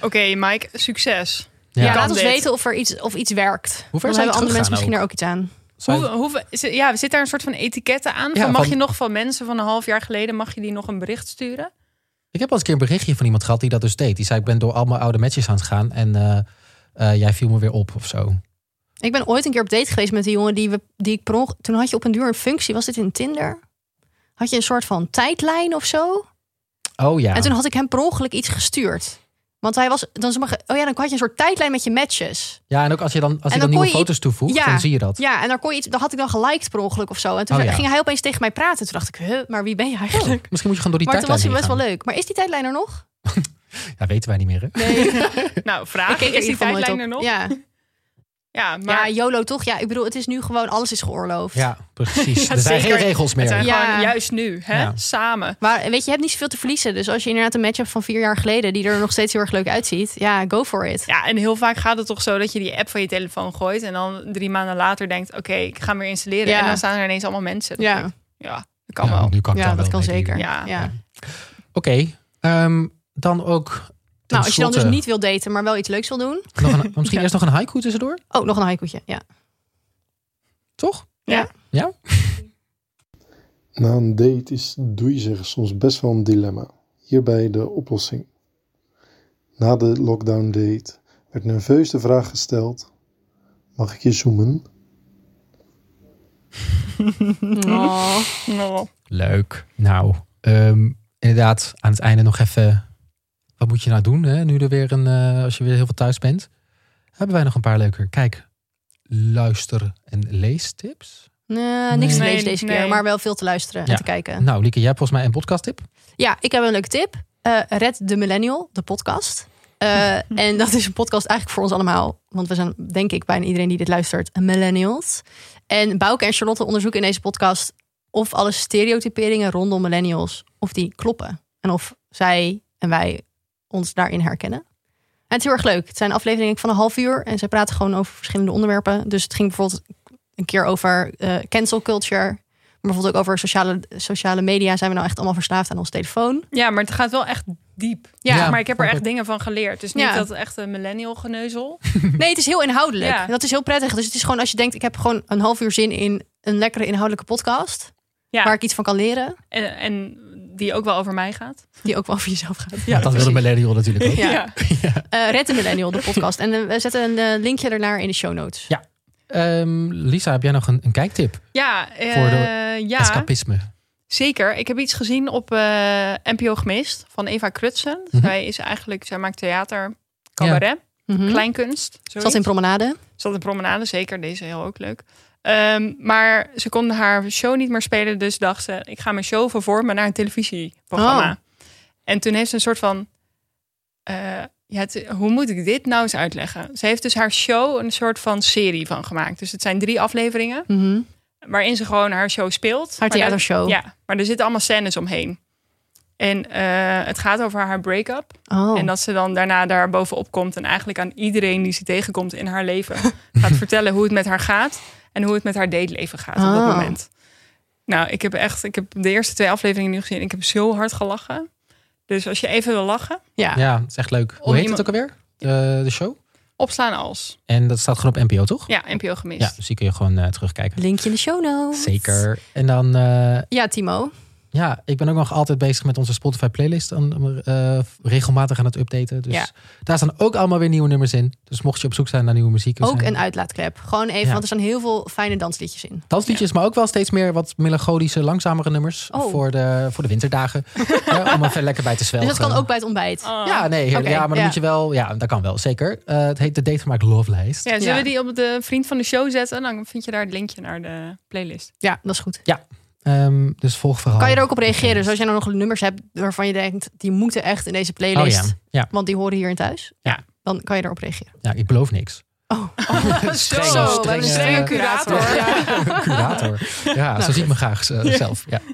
S2: Oké, Mike, succes.
S1: ja.
S2: Kan
S1: laat ons
S2: dit.
S1: weten of er iets, of iets werkt.
S3: Hoe ver
S1: Dan
S3: zou je
S1: hebben andere mensen
S3: teruggaan
S1: misschien daar ook iets aan.
S3: Zou-
S2: Hoe, hoe, zi- ja, zit daar een soort van etiketten aan?
S3: Ja,
S2: van, mag
S3: van-
S2: je nog van mensen van een half jaar geleden, mag je die nog een bericht sturen?
S3: Ik heb al eens een keer een berichtje van iemand gehad die dat dus deed. Die zei, ik ben door al mijn oude matches aan het gaan en eh, eh, jij viel me weer op of zo.
S1: Ik ben ooit een keer op date geweest met die jongen die, we, die ik per onge- Toen had je op een duur een functie. Was dit in Tinder? Had je een soort van tijdlijn of zo?
S3: Oh ja.
S1: En toen had ik hem per ongeluk iets gestuurd. Want hij was... Dan, sommige- oh ja, dan had je een soort tijdlijn met je matches.
S3: Ja, en ook als je dan, als je
S1: En
S3: dan,
S1: dan kon
S3: nieuwe
S1: je-
S3: foto's toevoegt,
S1: Ja.
S3: dan zie je dat.
S1: Ja, en daar kon je iets, dan had ik dan geliked per ongeluk of zo. En toen
S3: Oh ja.
S1: ging hij opeens tegen mij praten. Toen dacht ik, huh, maar wie ben je eigenlijk?
S3: Misschien moet je gewoon door die
S1: maar toen was hij best wel
S3: tijdlijn heen
S1: leuk. Maar is die tijdlijn er nog?
S3: gaan. Ja, weten wij niet meer. Hè?
S2: Nou, vraag.
S1: keek er
S2: Is die
S1: in ieder geval nooit
S2: tijdlijn
S1: op.
S2: er nog?
S1: Ja.
S2: Ja, maar
S1: ja, YOLO toch? Ja, ik bedoel, het is nu gewoon alles is geoorloofd.
S3: Ja, precies.
S2: Ja,
S3: er zijn
S2: zeker.
S3: geen regels
S2: het
S3: meer.
S2: zijn
S1: Ja.
S2: gewoon juist nu, hè?
S3: Ja.
S2: Samen.
S1: Maar weet je, je hebt niet zoveel te verliezen. Dus als je inderdaad een match hebt van vier jaar geleden... die er nog steeds heel erg leuk uitziet, ja, go for it.
S2: Ja, en heel vaak gaat het toch zo dat je die app van je telefoon gooit en dan drie maanden later denkt, oké, ik ga hem weer installeren.
S1: Ja.
S2: En dan staan er ineens allemaal mensen. Dat
S1: Ja.
S2: denk ik, Ja, dat kan
S3: Ja,
S2: wel.
S3: nu kan ik
S1: Ja, dat
S3: wel
S1: kan
S3: met die-
S1: zeker.
S2: Ja.
S1: Ja.
S3: Oké, ehm, dan ook... ten
S1: Nou, als je dan dus
S3: slotte
S1: niet wil daten, maar wel iets leuks wil doen.
S3: nog een- misschien eerst nog een haiku tussendoor,
S1: Oh, nog een haikuutje. Ja.
S3: toch?
S4: Na een date is doei zeggen soms best wel een dilemma. Hierbij de oplossing. Na de lockdown date werd nerveus de vraag gesteld: Mag ik je zoomen?
S1: Oh.
S2: Oh.
S3: Leuk. Nou, ehm, inderdaad, aan het einde nog even. Wat moet je nou doen hè? nu er weer een. eh, als je weer heel veel thuis bent? Hebben wij nog een paar leuke. Kijk, luister- en leestips.
S1: Nee, niks te
S2: Nee,
S1: lezen deze keer,
S2: nee.
S1: maar wel veel te luisteren en
S3: Ja.
S1: te kijken.
S3: Nou, Lieke, jij hebt volgens mij een podcasttip.
S1: Ja, ik heb een leuke tip. Eh, Red de Millennial, de podcast. Eh, en dat is een podcast eigenlijk voor ons allemaal. Want we zijn, denk ik, bijna iedereen die dit luistert, millennials. En Bouke en Charlotte onderzoeken in deze podcast... of alle stereotyperingen rondom millennials, of die kloppen. En of zij en wij ons daarin herkennen. En het is heel erg leuk. Het zijn afleveringen van een half uur. En zij praten gewoon over verschillende onderwerpen. Dus het ging bijvoorbeeld een keer over eh, cancel culture. Maar bijvoorbeeld ook over sociale, sociale media. Zijn we nou echt allemaal verslaafd aan ons telefoon?
S2: Ja, maar het gaat wel echt diep.
S1: Ja.
S2: Ja, maar ik heb er
S3: snap
S2: echt dingen van geleerd. Dus niet
S1: Ja.
S2: dat echt een millennial geneuzel.
S1: Nee, het is heel inhoudelijk.
S2: Mhm. Ja.
S1: En Dat is heel prettig. Dus het is gewoon als je denkt, ik heb gewoon een half uur zin in een lekkere inhoudelijke podcast.
S2: Ja.
S1: Waar ik iets van kan leren.
S2: En, en die ook wel over mij gaat.
S1: Die ook wel voor jezelf gaat.
S3: Ja, dat wil een millennial natuurlijk ook.
S1: Ja. Eh, Red de Millennial, de podcast. En eh, we zetten een eh, linkje ernaar in de show notes.
S3: Ja. Ehm, Lisa, heb jij nog een, een kijktip?
S2: Ja, eh,
S3: Voor de
S2: ja.
S3: Escapisme.
S2: Zeker. Ik heb iets gezien op eh, NPO Gemist van Eva Krutsen.
S3: Mhm.
S2: Zij is eigenlijk, zij maakt theater, cabaret,
S1: Mhm.
S2: kleinkunst.
S1: Zat in Promenade.
S2: Zat in promenade, zeker. Deze heel ook leuk. Ehm, maar ze kon haar show niet meer spelen, dus dacht ze: ik ga mijn show vervormen naar een televisieprogramma.
S1: Oh.
S2: En toen heeft ze een soort van: eh, ja, het- hoe moet ik dit nou eens uitleggen? Ze heeft dus haar show een soort van serie van gemaakt. Dus het zijn drie afleveringen
S1: Mhm.
S2: waarin ze gewoon haar show speelt.
S1: Haar
S2: Maar daar-
S1: theatershow.
S2: Ja, maar er zitten allemaal scènes omheen. En eh, het gaat over haar break-up.
S1: Oh.
S2: En dat ze dan daarna daar bovenop komt en eigenlijk aan iedereen die ze tegenkomt in haar leven gaat vertellen hoe het met haar gaat en hoe het met haar dateleven gaat op
S1: Oh.
S2: dat moment. Nou, ik heb echt, ik heb de eerste twee afleveringen nu gezien. Ik heb zo hard gelachen. Dus als je even wil lachen,
S1: ja.
S3: Ja, het is echt leuk. Hoe heet
S2: iemand-
S3: het ook alweer? De, de show?
S2: opslaan als.
S3: En dat staat gewoon op NPO, toch?
S2: Ja, NPO
S3: Ja,
S2: gemist.
S3: dus die kun je gewoon eh, terugkijken.
S1: Linkje in de show notes.
S3: Zeker. En dan, eh,
S1: Ja, Timo.
S3: ja, ik ben ook nog altijd bezig met onze Spotify playlist. Aan, eh, regelmatig aan het updaten. Dus
S1: Ja.
S3: daar staan ook allemaal weer nieuwe nummers in. Dus mocht je op zoek zijn naar nieuwe muziek. we
S1: Ook
S3: zijn-
S1: een uitlaatklep. Gewoon even,
S3: Ja.
S1: want er staan heel veel fijne dansliedjes in. Dus
S3: Dansliedjes, maar ook wel steeds meer wat melancholische, langzamere nummers.
S1: Oh.
S3: Voor, de, voor de winterdagen. Ja, om er verder lekker bij te
S1: Dus
S3: zwelgen.
S1: dat kan ook bij het ontbijt.
S2: Oh.
S3: Ja, nee, heerlijk.
S1: Oké,
S3: ja, maar dan
S1: ja.
S3: moet je wel... Ja, dat kan wel, zeker. Eh, het heet de Datevermaak Love Lijst.
S2: Ja, zullen
S1: Ja.
S2: we die op de vriend van de show zetten? Dan vind je daar het linkje naar de playlist.
S1: Ja, dat is goed.
S3: Ehm, dus volg vooral.
S1: Kan je er ook op reageren? Dus als jij nou nog nummers hebt waarvan je denkt, die moeten echt in deze
S3: Oh
S1: playlist.
S3: ja. ja,
S1: Want die horen hierin thuis.
S3: Ja.
S1: Dan kan je erop reageren.
S3: ja, ik beloof niks.
S1: Oh,
S2: Zo,
S3: Strenge,
S1: wat een
S3: strenge-
S1: strenge curator. Ja.
S3: Curator. Ja,
S1: Nou,
S3: zo zie ik me graag eh, zelf. Ja.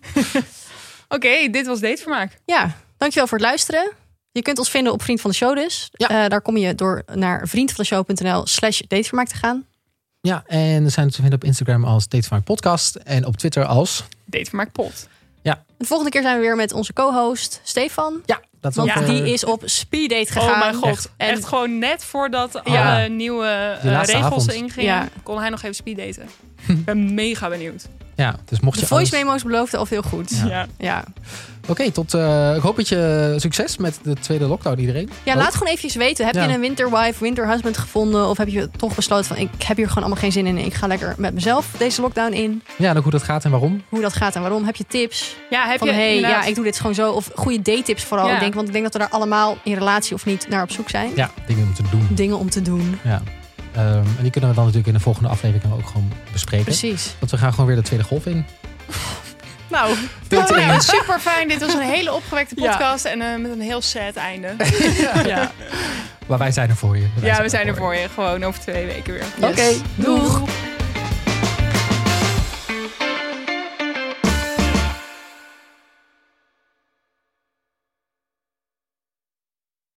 S2: Oké, dit was Datevermaak.
S1: ja, dankjewel voor het luisteren. Je kunt ons vinden op Vriend van de Show dus.
S3: Ja.
S1: Eh, daar kom je door naar vriendvandeshow.nl slash datevermaak te gaan.
S3: ja, en we zijn dus te vinden op Instagram als Datevermaak Podcast. En op Twitter als...
S2: Datevermaak pot.
S1: De volgende keer zijn we weer met onze co-host Stefan.
S3: Ja, dat
S1: Want
S3: was, eh,
S1: die is op speeddate gegaan.
S2: Oh mijn god.
S3: Echt.
S2: Echt,
S1: En-
S2: gewoon net voordat alle
S3: Ja.
S2: nieuwe
S3: Die
S2: eh,
S3: laatste
S2: regels
S3: avond. Hm.
S2: ingingen,
S1: Ja.
S2: kon hij nog even speeddaten. Ik ben mega benieuwd.
S3: Ja, dus mocht
S1: De
S3: je
S1: voice
S3: alles-
S1: memo's beloofden al veel goed.
S3: Ja.
S1: Ja,
S2: Ja.
S1: ja.
S3: Oké, tot... eh, ik hoop dat je succes met de tweede lockdown, iedereen. Ook.
S1: laat gewoon eventjes weten. Heb
S3: Oh. Ja.
S1: je een winterwife, winterhusband gevonden? Of heb je toch besloten van ik heb hier gewoon allemaal geen zin in. en Ik ga lekker met mezelf deze lockdown in.
S3: Ja, en ook hoe dat gaat en waarom.
S1: Hoe dat gaat en waarom. Heb je tips?
S2: Ja, heb
S1: Van
S2: je
S1: hey, ja,
S2: inderdaad-
S1: ik doe dit gewoon zo. Of goede date-tips vooral.
S2: Ja.
S1: Ik denk, want ik denk dat we daar allemaal in relatie of niet naar op zoek zijn.
S3: Ja, dingen om te doen.
S1: Dingen om te doen.
S3: Ja. Ehm, en die kunnen we dan natuurlijk in de volgende aflevering ook gewoon bespreken.
S1: Precies.
S3: Want we gaan gewoon weer de tweede golf in.
S2: Nou,
S3: Deel
S2: oh,
S3: één.
S2: ja, super fijn. Dit was een hele opgewekte
S1: Ja.
S2: podcast en eh, met een heel sad einde. ja.
S3: Maar wij zijn er voor je. Wij
S2: ja, we zijn er voor je. Gewoon over twee weken weer.
S1: Oké, doeg.
S2: Doeg.